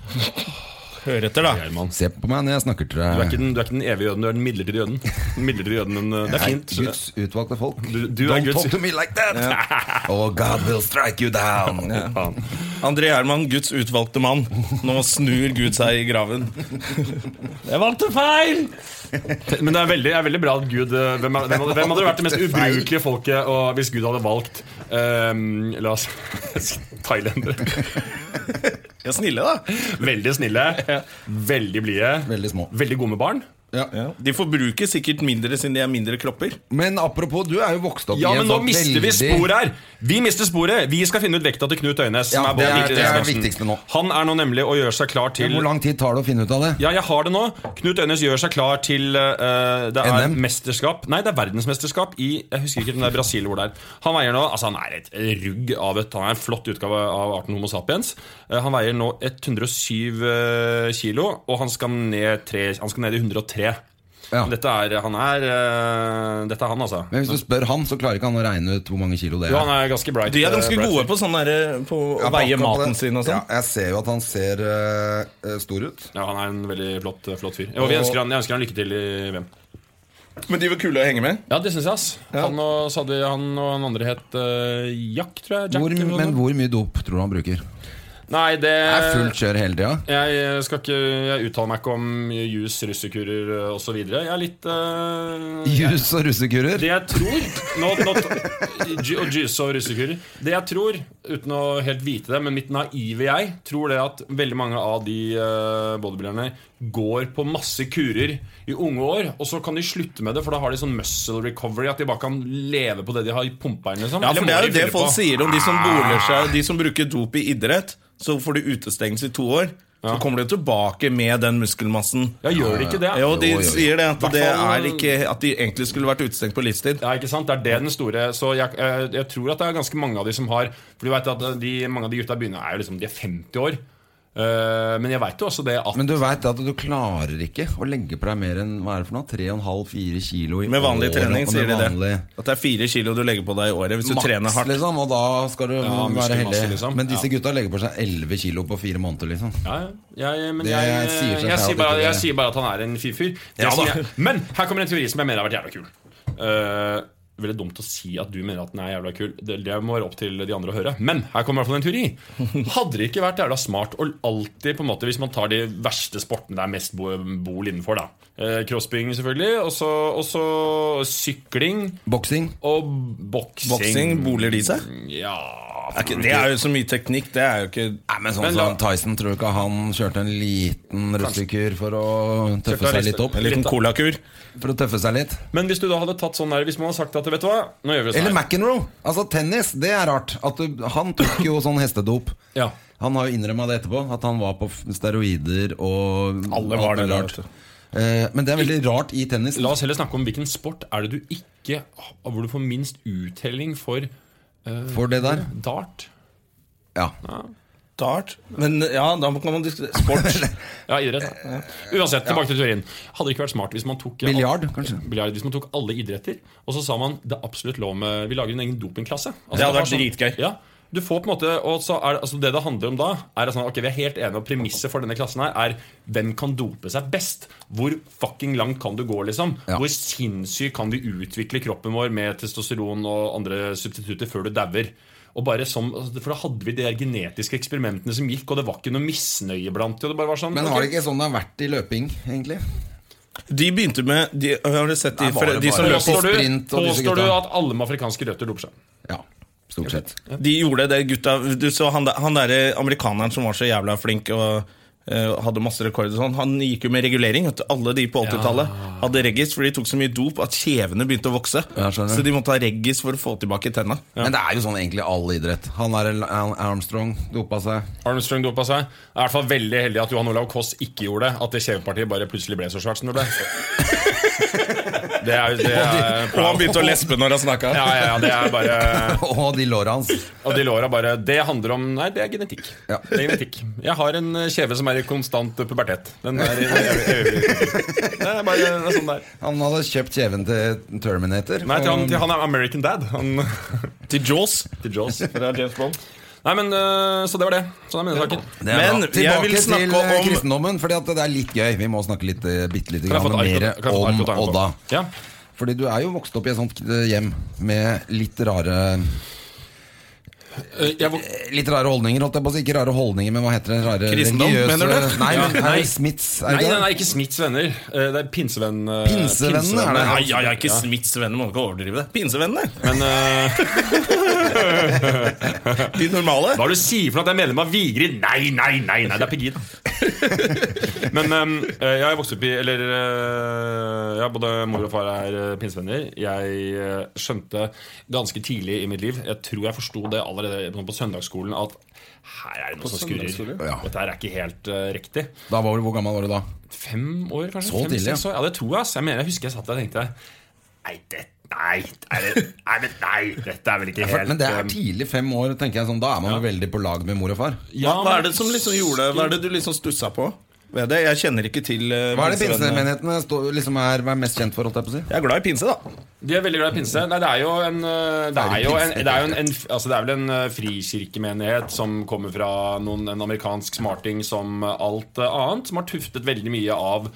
Speaker 1: Hør etter, da.
Speaker 4: Gjermann
Speaker 2: Se på meg når jeg snakker til
Speaker 4: Du er
Speaker 2: deg.
Speaker 4: ikke den, du er ikke den evige jøden, du er den midlertidige jøden. Den midlertidige jøden, men uh, det er
Speaker 2: Jeg er
Speaker 4: fint.
Speaker 2: Guds utvalgte folk.
Speaker 4: Du- du er
Speaker 2: Don't
Speaker 4: Guds-
Speaker 2: talk to me like that! Oh, God will strike you down!
Speaker 4: Faen.
Speaker 1: André Gjermann, Guds utvalgte mann. Nå snur Gud seg i graven. Jeg valgte feil!
Speaker 4: Men det er veldig, det er veldig bra at Gud uh, Hvem, er- hvem, hadde- hvem hadde vært det mest ubrukelige folket og hvis Gud hadde valgt um, La oss Thailendere.
Speaker 1: De er snille, da.
Speaker 4: Veldig snille, veldig blide,
Speaker 2: Veldig små.
Speaker 4: veldig gode med barn.
Speaker 2: Ja.
Speaker 1: De forbruker sikkert mindre siden de er mindre kropper.
Speaker 2: Men apropos, du er jo vokst opp
Speaker 4: Ja,
Speaker 2: i en
Speaker 4: men nå
Speaker 2: sånn
Speaker 4: mister vi
Speaker 2: veldig-
Speaker 4: sporet her! Vi mister sporet! Vi skal finne ut vekta til Knut Øynes.
Speaker 2: Ja,
Speaker 4: som
Speaker 2: det er-
Speaker 4: både-
Speaker 2: det er det
Speaker 4: Midtøsten.
Speaker 2: viktigste nå.
Speaker 4: Han er nå nemlig å gjøre seg klar til
Speaker 2: Hvor lang tid tar det å finne ut av det?
Speaker 4: Ja, jeg har det nå. Knut Øynes gjør seg klar til eh, Det er
Speaker 2: NM?
Speaker 4: mesterskap Nei, det er verdensmesterskap i Jeg husker ikke om det er Brasil hvor det er. Han veier nå Altså, han er et rugg av et Han er en flott utgave av arten Homo sapiens. Eh, han veier nå 107 eh, kilo, og han skal ned, tre, han skal ned i 103.
Speaker 2: Ja.
Speaker 4: Dette er Han er eh, Dette er han, altså.
Speaker 2: Men hvis du spør han, så klarer ikke han å regne ut hvor mange kilo det
Speaker 4: Jo,
Speaker 2: er.
Speaker 4: han er ganske bright.
Speaker 1: De er
Speaker 4: eh,
Speaker 1: ganske
Speaker 4: bright.
Speaker 1: gode på, sånn der, på
Speaker 2: Ja,
Speaker 1: å veie
Speaker 2: akkurat på
Speaker 1: maten
Speaker 2: det.
Speaker 1: sin og sånn.
Speaker 2: Ja, jeg ser jo at han ser eh, eh, stor ut.
Speaker 4: Ja, han er en veldig flott, flott fyr. Og vi
Speaker 2: Og-
Speaker 4: ønsker han, jeg ønsker han lykke til i VM.
Speaker 1: Men de var kule å henge med.
Speaker 4: Ja, det syns jeg, ass. Han, og, så hadde han og han andre het eh, Jack, tror jeg. Jack,
Speaker 2: Hvor,
Speaker 4: eller noe
Speaker 2: men
Speaker 4: sånt.
Speaker 2: hvor mye dop tror du han bruker?
Speaker 4: Nei, det
Speaker 2: Det er fullt kjør hele tida.
Speaker 4: Jeg skal ikke Jeg uttaler meg ikke om jus, russekurer osv. Jeg er litt eh,
Speaker 2: Jus og russekurer.
Speaker 4: Det jeg tror nå, nå, ju- Og juice og russekurer. Det jeg tror, uten å helt vite det, men mitt naive jeg, tror det at veldig mange av de eh, bodybuilderne går på masse kurer i unge år, og så kan de slutte med det, for da har de sånn muscle recovery, at de bare kan leve på det de har pumpa inn. Liksom.
Speaker 1: Ja, for
Speaker 4: Eller
Speaker 1: Det
Speaker 4: må
Speaker 1: er
Speaker 4: de
Speaker 1: jo det
Speaker 4: fylle
Speaker 1: folk
Speaker 4: på?
Speaker 1: sier om de som boler seg De som bruker dop i idrett. Så får de utestengelse i to år. Så
Speaker 4: Ja.
Speaker 1: kommer de tilbake med den muskelmassen.
Speaker 4: Ja, gjør de ikke det?
Speaker 1: Jo, de
Speaker 2: Jo, jo, jo.
Speaker 1: sier det at, det
Speaker 4: Hvertfall-
Speaker 1: er ikke, at de egentlig skulle vært utestengt på livstid.
Speaker 4: Ja, ikke sant? Det er det den store Så jeg, eh, jeg tror at det er ganske mange av de som har For du vet at de, mange av de gutta begynner er jo liksom, De er 50 år Eh, Men jeg vet jo også det at
Speaker 2: Men du veit at du klarer ikke å legge på deg mer enn hva er det for noe? 3,5-4 kilo i
Speaker 1: Med vanlig
Speaker 2: året,
Speaker 1: trening,
Speaker 2: og med
Speaker 1: sier de det.
Speaker 2: vanlig
Speaker 1: At det er fire kilo du legger på deg i året hvis du
Speaker 2: maks,
Speaker 1: trener hardt.
Speaker 2: Liksom, og da skal du være
Speaker 4: muskelmasse,
Speaker 2: heldig.
Speaker 4: liksom.
Speaker 2: Men disse
Speaker 4: Ja.
Speaker 2: gutta legger på seg 11 kilo på fire måneder, liksom.
Speaker 4: ja, jeg, men
Speaker 2: Det
Speaker 4: jeg, jeg,
Speaker 2: sier seg selv at
Speaker 4: sier bare,
Speaker 2: ikke
Speaker 4: jeg
Speaker 2: det-
Speaker 4: sier bare at han er en fin fyr. Det
Speaker 1: Ja
Speaker 4: som
Speaker 1: da.
Speaker 4: jeg- Men her kommer en teori som jeg mener har vært jævla kul. Eh, veldig dumt å si at du mener at den er jævla kul. Det, det må være opp til de andre å høre. Men her kommer i hvert fall en teori. Hadde det ikke vært jævla smart å alltid, på en måte, hvis man tar de verste sportene det er mest bo- bol innenfor, da eh, Crossbygging, selvfølgelig, og så- og så sykling
Speaker 2: Boksing.
Speaker 4: og boksing.
Speaker 1: Boksing, boler de seg?
Speaker 4: Ja
Speaker 1: Er ikke- Det er jo så mye teknikk. Det er jo ikke
Speaker 2: Nei, men sånn
Speaker 4: Men la-
Speaker 2: som Tyson, tror du ikke han kjørte en liten russekur for å tøffe
Speaker 4: Kjørte
Speaker 2: seg litt opp?
Speaker 1: en liten colakur.
Speaker 2: For å tøffe seg litt?
Speaker 4: Men hvis du da hadde tatt sånn der Hvis man hadde sagt at vet du hva, nå gjør vi det sånn
Speaker 2: Eller
Speaker 4: her.
Speaker 2: McEnroe! Altså, tennis, det er rart. At du, han tok jo sånn hestedop.
Speaker 4: Ja.
Speaker 2: Han har jo innrømma det etterpå, at han var på f- steroider og
Speaker 1: Alle var
Speaker 2: alt mulig
Speaker 1: det, da, vet
Speaker 2: rart.
Speaker 1: du.
Speaker 2: Eh, Men det er veldig rart i tennis.
Speaker 4: La oss heller snakke om hvilken sport er det du ikke Hvor du får minst uttelling for
Speaker 2: For det der.
Speaker 4: dart.
Speaker 2: Ja.
Speaker 1: Dart. Men ja, da kan man diskutere sport.
Speaker 4: Ja, idrett. da. Uansett, tilbake til teorien. Hadde det ikke vært smart hvis man tok
Speaker 2: Biljard, kanskje?
Speaker 4: Biljard, hvis man tok alle idretter, og så sa man det er absolutt lov med Vi lager en egen dopingklasse. Altså,
Speaker 1: Det hadde
Speaker 4: var
Speaker 1: vært dritgøy.
Speaker 4: Ja, du får på en måte og så er, det- altså, Det det handler om da, er at sånn, ok, vi er helt enige om premisset for denne klassen her er hvem kan dope seg best. Hvor fucking langt kan du gå, liksom?
Speaker 2: Ja.
Speaker 4: Hvor sinnssykt kan vi utvikle kroppen vår med testosteron og andre substitutter før du dauer? Og bare som, altså, for da hadde vi de der genetiske eksperimentene som gikk, og det var ikke noe misnøye blant de. og det bare var sånn,
Speaker 2: Men har
Speaker 4: ok.
Speaker 2: det ikke sånn det har vært i løping, egentlig?
Speaker 1: De begynte med de, Har du sett de,
Speaker 2: Nei, var
Speaker 1: for,
Speaker 2: det
Speaker 1: de som
Speaker 2: bare-
Speaker 1: løp på
Speaker 4: Påstår du,
Speaker 2: sånn sprint og disse
Speaker 4: påstår du
Speaker 2: gutta.
Speaker 4: at alle med afrikanske røtter doper seg?
Speaker 2: Ja, stort sett.
Speaker 1: De gjorde det, gutta. Du så han, der, han der amerikaneren som var så jævla flink og eh, hadde masse rekorder og sånn, han gikk jo med regulering. Vet du. Alle de på 80-tallet hadde reggis, for de tok så mye dop at kjevene begynte å vokse.
Speaker 2: Ja, skjønner.
Speaker 1: så de måtte ha reggis for å få tilbake tenna.
Speaker 2: Men det er jo sånn egentlig all idrett. Han er en- Al- Armstrong, dopa seg.
Speaker 4: Armstrong dopa seg. Det er i hvert fall veldig heldig at Johan Olav Koss ikke gjorde det. At det kjevepartiet bare plutselig ble så svært som det ble. Det er, det er
Speaker 1: Og han begynte å lespe når han snakka.
Speaker 4: Ja, ja, ja, det er bare
Speaker 2: Og de låra hans.
Speaker 4: Og de låra bare Det handler om Nei, det er genetikk.
Speaker 2: Ja.
Speaker 4: Det er genetikk. Jeg har en eh, kjeve som er i konstant eh, pubertet. Den er i evig- evig- Det er bare det er sånn der.
Speaker 2: Han hadde kjøpt kjeven til Terminator.
Speaker 4: Nei, til han,
Speaker 2: og-
Speaker 4: til han er American Dad. Han, til Jaws. Til Jaws. Nei, men eh, Så det var det. Sånn er mine saker.
Speaker 2: Det er
Speaker 1: Men
Speaker 2: bra.
Speaker 1: jeg
Speaker 2: Tilbake
Speaker 1: vil snakke
Speaker 2: til eh,
Speaker 1: om-
Speaker 2: kristendommen, Fordi at det er litt gøy. Vi må snakke litt, eh, bitte lite
Speaker 4: Kan jeg
Speaker 2: grann
Speaker 4: få et
Speaker 2: mer
Speaker 4: ark- kan jeg få et
Speaker 2: om
Speaker 4: ark å ta den på?
Speaker 2: Odda.
Speaker 4: Ja.
Speaker 2: Fordi du er jo vokst opp i et sånt eh, hjem med litt rare
Speaker 4: Eh, Jeg, vok-
Speaker 2: Litt rare holdninger, holdt jeg på å si. Ikke rare holdninger, men hva heter det? Rare
Speaker 1: Kristendom,
Speaker 2: religiøse-
Speaker 1: mener du?
Speaker 2: Nei,
Speaker 4: Ja,
Speaker 2: men er
Speaker 4: nei.
Speaker 2: det Smiths? Er
Speaker 4: Nei,
Speaker 2: det
Speaker 4: nei,
Speaker 2: det?
Speaker 4: nei, ikke Smiths venner. Eh, Det er pinsevenn... eh,
Speaker 2: Pinsevennene, er det?
Speaker 1: Nei, ja, ja, ikke Smiths venner, må du ikke overdrive det. Pinsevennene!
Speaker 4: Men eh,
Speaker 1: De normale.
Speaker 4: hva er det du sier for noe at jeg er medlem av Vigrid? Nei, nei, nei, nei, det er Pegida. Men eh, jeg har vokst opp i Eller eh, ja, både mor og far er eh, pinsevenner. Jeg eh, skjønte ganske tidlig i mitt liv, jeg tror jeg forsto det allerede på- på søndagsskolen, at her er det noe som skurrer.
Speaker 2: Ja.
Speaker 4: Dette her er ikke helt eh, riktig.
Speaker 2: Da var du, Hvor gammel var du da?
Speaker 4: fem år, kanskje?
Speaker 2: Så
Speaker 4: fem,
Speaker 2: tidlig,
Speaker 4: seks
Speaker 2: ja.
Speaker 4: år. Ja, det tror jeg. ass. Jeg mener, jeg husker jeg satt der og tenkte Nei, det, nei, er det, nei, men nei, dette er vel ikke helt
Speaker 2: Men det er
Speaker 4: um,
Speaker 2: tidlig fem år, tenker jeg sånn. Da er man jo veldig på lag med mor og far.
Speaker 4: ja,
Speaker 1: Hva er det som liksom gjorde Hva er det du liksom stussa på ved det? Jeg kjenner ikke til eh,
Speaker 2: Hva er det
Speaker 1: pinsevennene.
Speaker 2: pinsemenighetene står- liksom er, hva er mest kjent for, holdt jeg på å si?
Speaker 1: Jeg er glad i pinse, da.
Speaker 4: De er veldig glad i pinse. Nei, det er jo en øh, Det er,
Speaker 2: Er det
Speaker 4: jo en,
Speaker 2: pinse?
Speaker 4: det er, jo en, en altså, det er vel en øh, frikirkemenighet som kommer fra noen, en amerikansk smarting som øh, alt øh, annet, som har tuftet veldig mye av,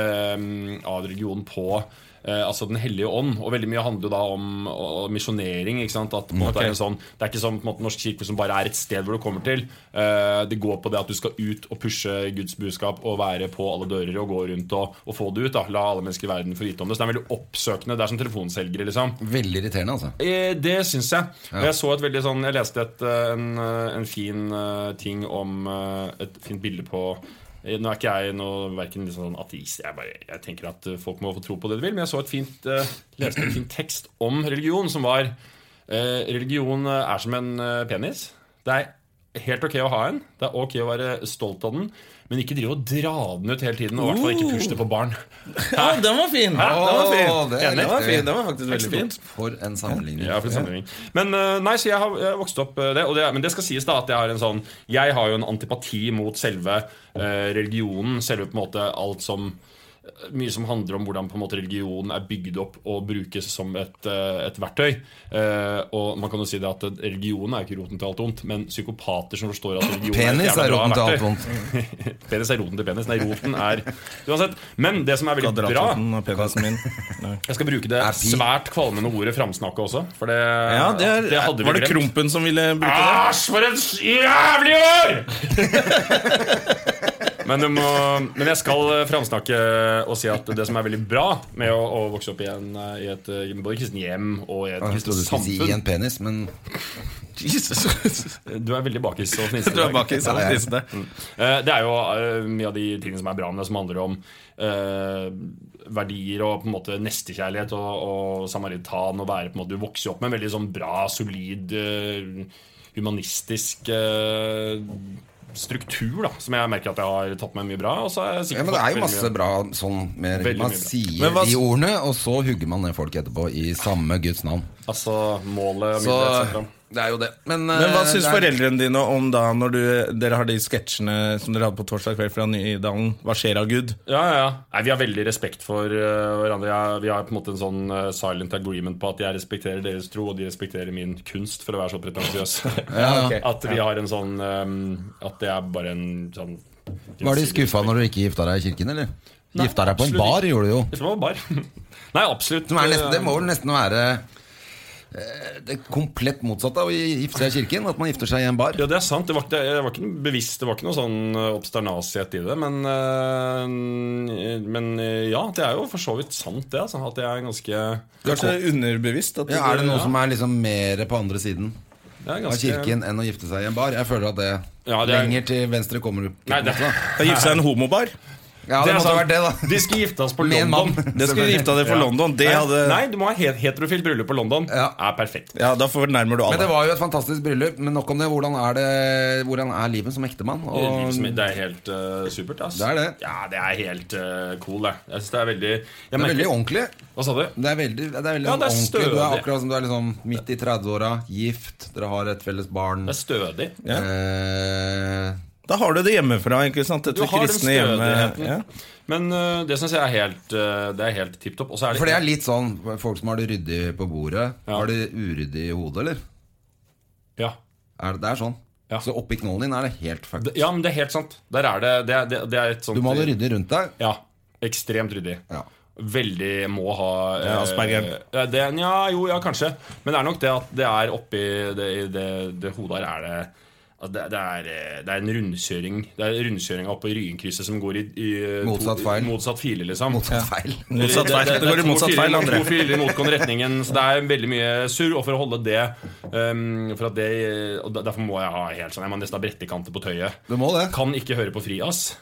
Speaker 4: øh, av religionen på øh, altså Den hellige ånd. Og veldig mye handler jo da om og misjonering. ikke sant? At på en måte er en sånn, Det er ikke sånn på en måte, Norsk kirke som bare er et sted hvor du kommer til. Eh, det går på det at du skal ut og pushe Guds budskap og være på alle dører og gå rundt og, og få det ut. da, La alle mennesker i verden få vite om det. Så det er veldig oppsøkende. Det er som telefonselgere, liksom.
Speaker 2: Veldig irriterende, altså.
Speaker 4: Eh, Det syns jeg. Og jeg så et veldig sånn Jeg leste et, eh, en, eh, en fin eh, ting om eh, Et fint bilde på eh, Nå er ikke jeg noe, hverken liksom sånn ateist jeg, bare, jeg tenker at eh, folk må få tro på det de vil, men jeg så et fint eh, leste en fin tekst om religion som var eh, Religion eh, er som en eh, penis. Det er helt ok å ha en. Det er ok å være stolt av den. Men ikke drive og dra den ut hele tiden, og i hvert fall ikke pushe det på barn.
Speaker 1: Ja, den var fin! Den var
Speaker 2: Åh,
Speaker 1: fin.
Speaker 2: det er
Speaker 1: Enig. Den var
Speaker 2: riktig.
Speaker 1: fin. Den var faktisk veldig fin.
Speaker 2: For en sammenligning.
Speaker 4: Ja, for en sammenligning. Men eh, nei, så jeg har, jeg har vokst opp eh, det, og det. Men det skal sies da at jeg har en sånn Jeg har jo en antipati mot selve eh, religionen. Selve på en måte alt som eh, mye som handler om hvordan på en måte religion er bygd opp og brukes som et, eh, et verktøy. Eh, og man kan jo si det at Religionen er jo ikke roten til alt ondt, men psykopater som forstår at religion er
Speaker 2: Penis
Speaker 4: et
Speaker 2: er
Speaker 4: jævla bra
Speaker 2: roten til alt
Speaker 4: verktøy.
Speaker 2: vondt.
Speaker 4: Penis er roten til penis. Nei, roten er Uansett. Men det som er veldig bra
Speaker 1: Kvadratroten av penisen min. Nei.
Speaker 4: Jeg skal bruke det
Speaker 2: Er pi.
Speaker 4: svært kvalmende ordet framsnakke også, for det,
Speaker 1: Ja, det er,
Speaker 4: hadde vi
Speaker 1: Var det
Speaker 4: glemt.
Speaker 1: Krompen som ville bruke det?
Speaker 4: Æsj, for et jævlig år! men, du må, men jeg skal eh, framsnakke og si at det som er veldig bra med å, å vokse opp i, en, eh, i et eh, både kristent hjem og i et
Speaker 2: Jeg
Speaker 4: kristent
Speaker 2: trodde du skulle si i
Speaker 4: samfunn
Speaker 2: en penis, men
Speaker 1: Jesus.
Speaker 4: Du er veldig bakis og fnisete.
Speaker 1: Du er bak i salen
Speaker 2: Ja, ja.
Speaker 1: tissende.
Speaker 4: Eh, Det er jo eh, mye av de tingene som er bra med det, som handler om eh, verdier og på en måte nestekjærlighet og, og samaritan. Og være på en måte, du vokser jo opp med en veldig sånn bra, solid, eh, humanistisk eh, struktur, da, som jeg merker at jeg har tatt med mye bra. Og så er jeg
Speaker 2: ja,
Speaker 4: sikkert
Speaker 2: men det er
Speaker 4: fått
Speaker 2: jo
Speaker 4: veldig
Speaker 2: masse
Speaker 4: mye-
Speaker 2: bra sånn med,
Speaker 4: Veldig
Speaker 2: Man
Speaker 4: mye bra.
Speaker 2: sier
Speaker 1: Men hva-
Speaker 2: de ordene, og så hugger man ned folk etterpå i samme Guds navn.
Speaker 4: Altså målet og
Speaker 2: Så
Speaker 4: midlet, etc.
Speaker 2: det er jo det. Men,
Speaker 1: Men hva
Speaker 2: eh,
Speaker 1: syns
Speaker 2: det er-
Speaker 1: foreldrene dine om da når du, dere har de sketsjene som dere hadde på torsdag kveld fra Nydalen? Hva skjer av Gud?
Speaker 4: Ja, ja, ja. Nei, vi har veldig respekt for eh, hverandre. Jeg, vi har på en måte en sånn eh, silent agreement på at jeg respekterer deres tro, og de respekterer min kunst, for å være så pretensiøs. At vi har en sånn eh, At det er bare en sånn
Speaker 2: Var de skuffa når du ikke gifta deg i kirken, eller? gifta deg på en
Speaker 4: absolutt
Speaker 2: bar,
Speaker 4: ikke.
Speaker 2: gjorde du jo.
Speaker 4: Det var bar. Nei, absolutt.
Speaker 2: Som er nesten, det må vel nesten være eh, det komplett motsatte av å gifte seg i kirken. At man gifter seg i en bar.
Speaker 4: Ja, det er sant. Det var, ikke- det var ikke noe bevisst, det var ikke noe sånn eh, obsternasighet i det. Men, eh, men eh, ja, det er jo for så vidt sant, det. Altså, at jeg er ganske jeg
Speaker 1: Kanskje underbevisst. At
Speaker 2: Ja, er det noe
Speaker 4: Ja. Altså,
Speaker 2: som er liksom mer på andre siden
Speaker 4: er
Speaker 2: av
Speaker 4: ganske-
Speaker 2: kirken enn å gifte seg i en bar? Jeg føler at det,
Speaker 4: Ja, det er-
Speaker 2: lenger til venstre kommer du.
Speaker 4: Nei, det,
Speaker 1: Da gifte seg i en homobar.
Speaker 2: Ja, det,
Speaker 4: er
Speaker 2: måtte
Speaker 4: sant.
Speaker 2: ha vært det, da.
Speaker 4: De skulle gifte oss på
Speaker 2: Med en
Speaker 4: London.
Speaker 2: mann.
Speaker 1: Det skulle du gifta deg for
Speaker 4: Ja.
Speaker 1: London. Det
Speaker 4: Nei,
Speaker 1: hadde
Speaker 4: Nei, du må ha het heterofilt bryllup på London.
Speaker 2: Ja.
Speaker 4: Er perfekt.
Speaker 1: Ja, da fornærmer du
Speaker 2: Men det
Speaker 1: alle.
Speaker 2: var jo et fantastisk bryllup. Men nok om det. Hvordan er, det, hvordan er livet som ektemann?
Speaker 4: Livet som-
Speaker 2: Og
Speaker 4: Det er helt eh, supert. Ass.
Speaker 2: Det er det.
Speaker 4: Ja, det er helt eh, cool, det. Jeg synes det er veldig jeg
Speaker 2: det er
Speaker 4: merker-
Speaker 2: veldig ordentlig.
Speaker 4: Hva sa du?
Speaker 2: Det er veldig, det er veldig
Speaker 4: Ja, det er
Speaker 2: ordentlig. Du er
Speaker 4: stødig.
Speaker 2: akkurat som du er liksom midt i 30-åra, gift, dere har et felles barn.
Speaker 4: Det er stødig.
Speaker 1: Ja.
Speaker 2: Eh,
Speaker 1: Da har du det hjemmefra. ikke sant? Dette
Speaker 4: Du har den
Speaker 1: kristne hjemme.
Speaker 4: stødigheten.
Speaker 1: Ja.
Speaker 4: Men eh, det syns jeg er helt uh, Det er helt tipp topp. Og så er det
Speaker 2: for det er litt sånn folk som har det ryddig på bordet,
Speaker 4: Ja.
Speaker 2: har det uryddig i hodet, eller?
Speaker 4: ja.
Speaker 2: Er det, det er sånn.
Speaker 4: Ja.
Speaker 2: Så oppi knollen din er det helt fucked.
Speaker 4: Det- ja, men det er helt sant. Der er det Det, er- det, det er et sånt
Speaker 2: Du må ha det ryddig rundt deg.
Speaker 4: Ja. Ekstremt ryddig.
Speaker 2: Ja.
Speaker 4: Veldig må ha eh,
Speaker 1: Ja, aspergeren.
Speaker 4: eh, det, ja, jo, ja, kanskje. Men det er nok det at det er oppi det, i det, det hodet her er det at det, det, er, eh, det er en rundkjøring Det er rundkjøringa oppe i Ryenkrysset som går i, i eh,
Speaker 2: Motsatt feil.
Speaker 4: Motsatt file, liksom.
Speaker 2: Motsatt feil.
Speaker 1: Motsatt feil. Det går i motsatt feil, André.
Speaker 4: To filer i motgående retningen, så det er veldig mye surr. Og for å holde det, ehm, for at det og der- Derfor må jeg ha helt sånn Jeg må nesten ha brettekanter på tøyet.
Speaker 2: Du må det.
Speaker 4: Kan ikke høre på frijazz.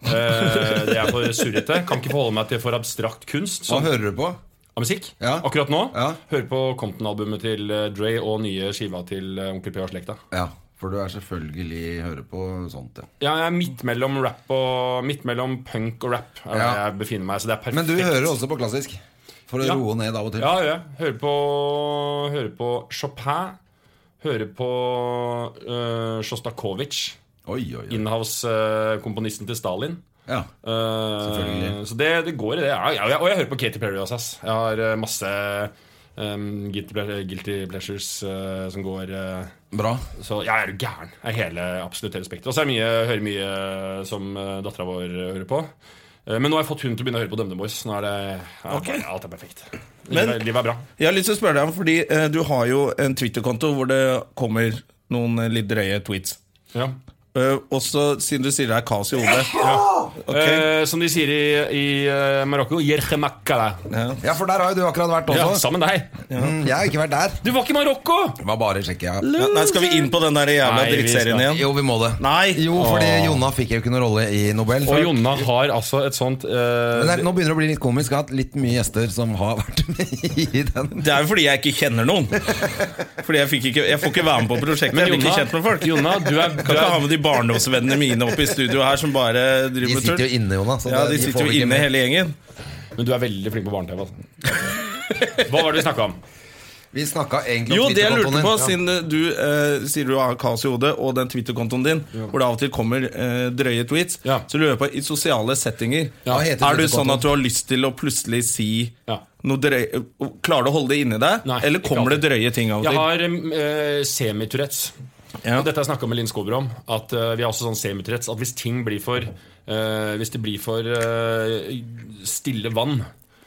Speaker 4: Eh, det er for surrete. Kan ikke forholde meg til for abstrakt kunst. Som
Speaker 2: Hva hører du på?
Speaker 4: av musikk
Speaker 2: Ja.
Speaker 4: Akkurat nå.
Speaker 2: Ja.
Speaker 4: Hører på Compton-albumet til eh, Dre og nye skiva til eh, Onkel P og slekta.
Speaker 2: Ja, for du er selvfølgelig hører på sånt, ja.
Speaker 4: Ja, jeg er midt mellom, rap og, midt mellom punk og rap. Er
Speaker 2: Ja.
Speaker 4: der jeg befinner meg, så det er perfekt.
Speaker 2: Men du hører også på klassisk. For å
Speaker 4: Ja.
Speaker 2: roe ned av og til.
Speaker 4: Ja, ja. Hører på, hører på Chopin. Hører på uh, Sjostakovitsj.
Speaker 2: Oi, oi, oi.
Speaker 4: Inhouse-komponisten til Stalin.
Speaker 2: Ja.
Speaker 4: Eh,
Speaker 2: Selvfølgelig.
Speaker 4: Så det, det går i det. Ja, ja, og jeg- og jeg hører på Katy Perry også. Ass. Jeg har eh, masse ehm, guilty, ple- guilty Pleasures eh, som går eh,
Speaker 2: Bra.
Speaker 4: Så jeg er jo gæren. Jeg er hele, absolutt hele spekteret. Og så er det mye, hører mye eh, som uh, dattera vår eh, hører på. Eh, men nå har jeg fått hun til å begynne å høre på Dumde Boys. Nå er det ja,
Speaker 1: Ok.
Speaker 4: Alt er perfekt. Livet,
Speaker 1: Men-
Speaker 4: er- livet er bra.
Speaker 1: Jeg har lyst til å spørre deg om, fordi eh, du har jo en Twitter-konto hvor det kommer noen eh, litt drøye tweets.
Speaker 4: Ja.
Speaker 1: Uh, også siden du sier det er kaos i hodet. Ok.
Speaker 4: Eh, som de sier i, i eh, Marokko Jerkemakala.
Speaker 2: Ja, for der har jo du akkurat vært
Speaker 4: Ja,
Speaker 2: også.
Speaker 4: sammen med deg!
Speaker 2: Mm, jeg har ikke vært der.
Speaker 4: Du var ikke i Marokko!
Speaker 2: Det var bare Tsjekkia.
Speaker 1: Ja, nei, skal vi inn på den der jævla
Speaker 4: Nei, vi
Speaker 1: drittserien
Speaker 4: skal-
Speaker 1: igjen?
Speaker 2: Jo, vi må det.
Speaker 1: Nei.
Speaker 2: Jo, fordi Jonna fikk jo ikke noen rolle i Nobel.
Speaker 4: Og Jonna har altså et sånt eh,
Speaker 2: Men det, nå begynner det å bli litt komisk. Jeg har hatt litt mye gjester som har vært med i den.
Speaker 1: Det er jo fordi jeg ikke kjenner noen. Fordi jeg, fikk ikke, jeg får ikke være med på prosjektet. Jeg blir ikke kjent med folk.
Speaker 4: Jonna, du er, du
Speaker 1: Kan ikke ha
Speaker 4: er
Speaker 1: med de barndomsvennene mine oppe i studio her som bare
Speaker 2: De
Speaker 1: driver med
Speaker 2: sitter
Speaker 1: tull.
Speaker 2: jo inne, Jonas. så
Speaker 1: Ja,
Speaker 2: det-
Speaker 1: de
Speaker 2: får
Speaker 1: sitter
Speaker 2: vi
Speaker 1: jo
Speaker 2: ikke
Speaker 1: inne
Speaker 2: med.
Speaker 1: hele gjengen.
Speaker 4: Men du er veldig flink på barne-TV. Altså. Hva var det vi snakka om?
Speaker 2: Vi snakka egentlig
Speaker 1: Jo,
Speaker 2: om
Speaker 1: det jeg lurte
Speaker 2: Twitter-kontoen
Speaker 1: på,
Speaker 2: din.
Speaker 1: siden du eh, sier du har kaos i hodet, og den Twitter-kontoen din, hvor det av og til kommer eh, drøye tweets,
Speaker 4: Ja.
Speaker 1: så lurer jeg på, i sosiale settinger,
Speaker 2: Ja, hva heter
Speaker 1: er du
Speaker 2: Twitter-kontoen?
Speaker 1: sånn at du har lyst til å plutselig si
Speaker 4: Ja.
Speaker 1: noe drøye Klarer du å holde det inni deg,
Speaker 4: Nei,
Speaker 1: eller
Speaker 4: ikke
Speaker 1: kommer det
Speaker 4: alltid.
Speaker 1: drøye ting av og
Speaker 4: Jeg
Speaker 1: til?
Speaker 4: har uh, semi-Tourettes.
Speaker 1: Ja.
Speaker 4: Og Dette har jeg snakka med Linn Skåber om. At eh, vi har også sånn semi-Tourettes At hvis ting blir for eh, Hvis det blir for eh, stille vann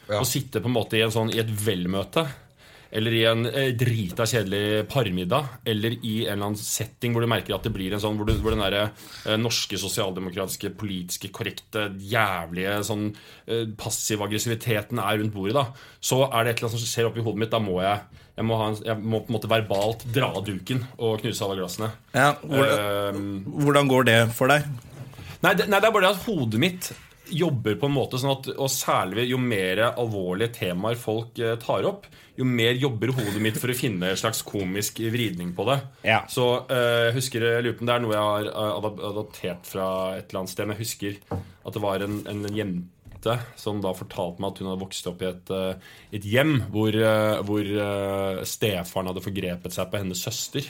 Speaker 2: Ja.
Speaker 4: Å sitte på en måte i, en sånn, i et velmøte eller i en eh, drita kjedelig parmiddag. Eller i en eller annen setting hvor du merker at det blir en sånn Hvor, du, hvor den derre eh, norske sosialdemokratiske, politiske, korrekte, jævlige sånn eh, passiv-aggressiviteten er rundt bordet, da. Så er det et eller annet som skjer oppi hodet mitt. Da må jeg jeg må, ha en, jeg må på en måte verbalt dra av duken og knuse alle glassene.
Speaker 1: Ja, hvordan,
Speaker 4: Eh,
Speaker 1: hvordan går det for deg?
Speaker 4: Nei, det, nei, det er bare det at hodet mitt jobber på en måte sånn at Og særlig jo mer alvorlige temaer folk eh, tar opp, jo mer jobber hodet mitt for å finne en slags komisk vridning på det.
Speaker 1: Ja.
Speaker 4: Så eh, jeg husker jeg lurer på om det er noe jeg har eh, adap- adaptert fra et eller annet sted. Men jeg husker at det var en, en jente som da fortalte meg at hun hadde vokst opp i et, eh, et hjem hvor, eh, hvor eh, stefaren hadde forgrepet seg på hennes søster.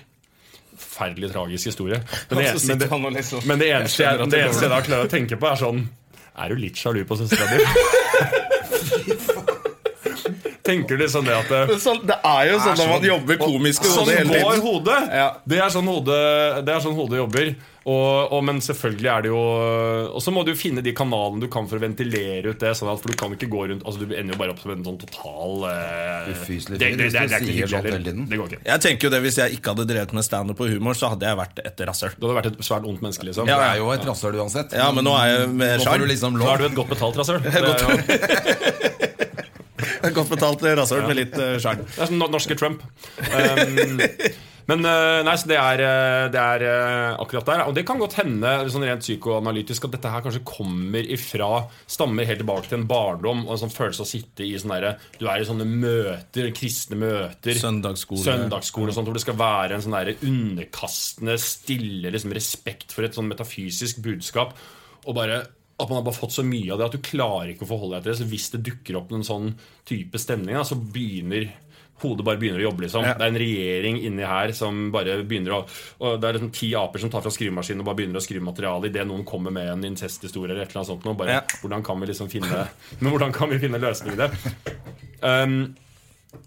Speaker 4: Forferdelig tragisk historie. Men det, men det, men det eneste jeg, det eneste jeg da klarer å tenke på, er sånn Er du litt sjalu på søstera di? Tenker du sånn det at eh, det,
Speaker 1: det er jo sånn
Speaker 2: når man
Speaker 1: jobber komisk
Speaker 4: Sånn går hodet! Det er sånn hodet, det er sånn hodet jobber. Og, og, men selvfølgelig er det jo Og så må du jo finne de kanalene du kan for å ventilere ut det. Sånn at, for du kan ikke gå rundt Altså Du ender jo bare opp som en sånn total eh,
Speaker 2: Ufyselig fyr,
Speaker 4: det, det, det, det,
Speaker 2: hvis du
Speaker 4: er ikke
Speaker 2: sier
Speaker 4: hyggelig
Speaker 2: sånt hele
Speaker 4: heller.
Speaker 2: tiden.
Speaker 4: Det går ikke.
Speaker 1: Jeg tenker jo det Hvis jeg ikke hadde drevet med standup og humor, så hadde jeg vært et rasshøl.
Speaker 4: Du hadde vært et svært ondt menneske, liksom.
Speaker 2: Du er jo et rasshøl uansett.
Speaker 1: Ja, men nå er jeg med
Speaker 2: Nå får
Speaker 1: sjarm.
Speaker 2: du liksom
Speaker 4: Nå er
Speaker 2: lov.
Speaker 4: du et godt betalt rasshøl. Det,
Speaker 1: godt-
Speaker 4: er jo-
Speaker 1: Godt betalt rasshøl med litt eh, sjarm.
Speaker 4: det er som no- norske Trump. Um, men eh, nei, så det er, eh, det er eh, akkurat der. Og det kan godt hende sånn rent psykoanalytisk at dette her kanskje kommer ifra Stammer helt tilbake til en barndom og en sånn følelse av å sitte i sånne der, Du er i sånne møter, kristne møter.
Speaker 1: Søndagsskole.
Speaker 4: Søndagsskole og sånt, hvor det skal være en sånn der underkastende, stille liksom, respekt for et sånn metafysisk budskap. Og bare at man har bare fått så mye av det at du klarer ikke å forholde deg til det. Så hvis det dukker opp en sånn type stemning, da, så begynner hodet bare begynner å jobbe. liksom Det er en regjering inni her som bare begynner å og Det er liksom ti aper som tar fra skrivemaskinen og bare begynner å skrive materiale idet noen kommer med en incesthistorie eller et eller annet sånt. nå, bare,
Speaker 1: Ja.
Speaker 4: hvordan kan vi liksom finne Men hvordan kan vi finne løsninger i det? Um,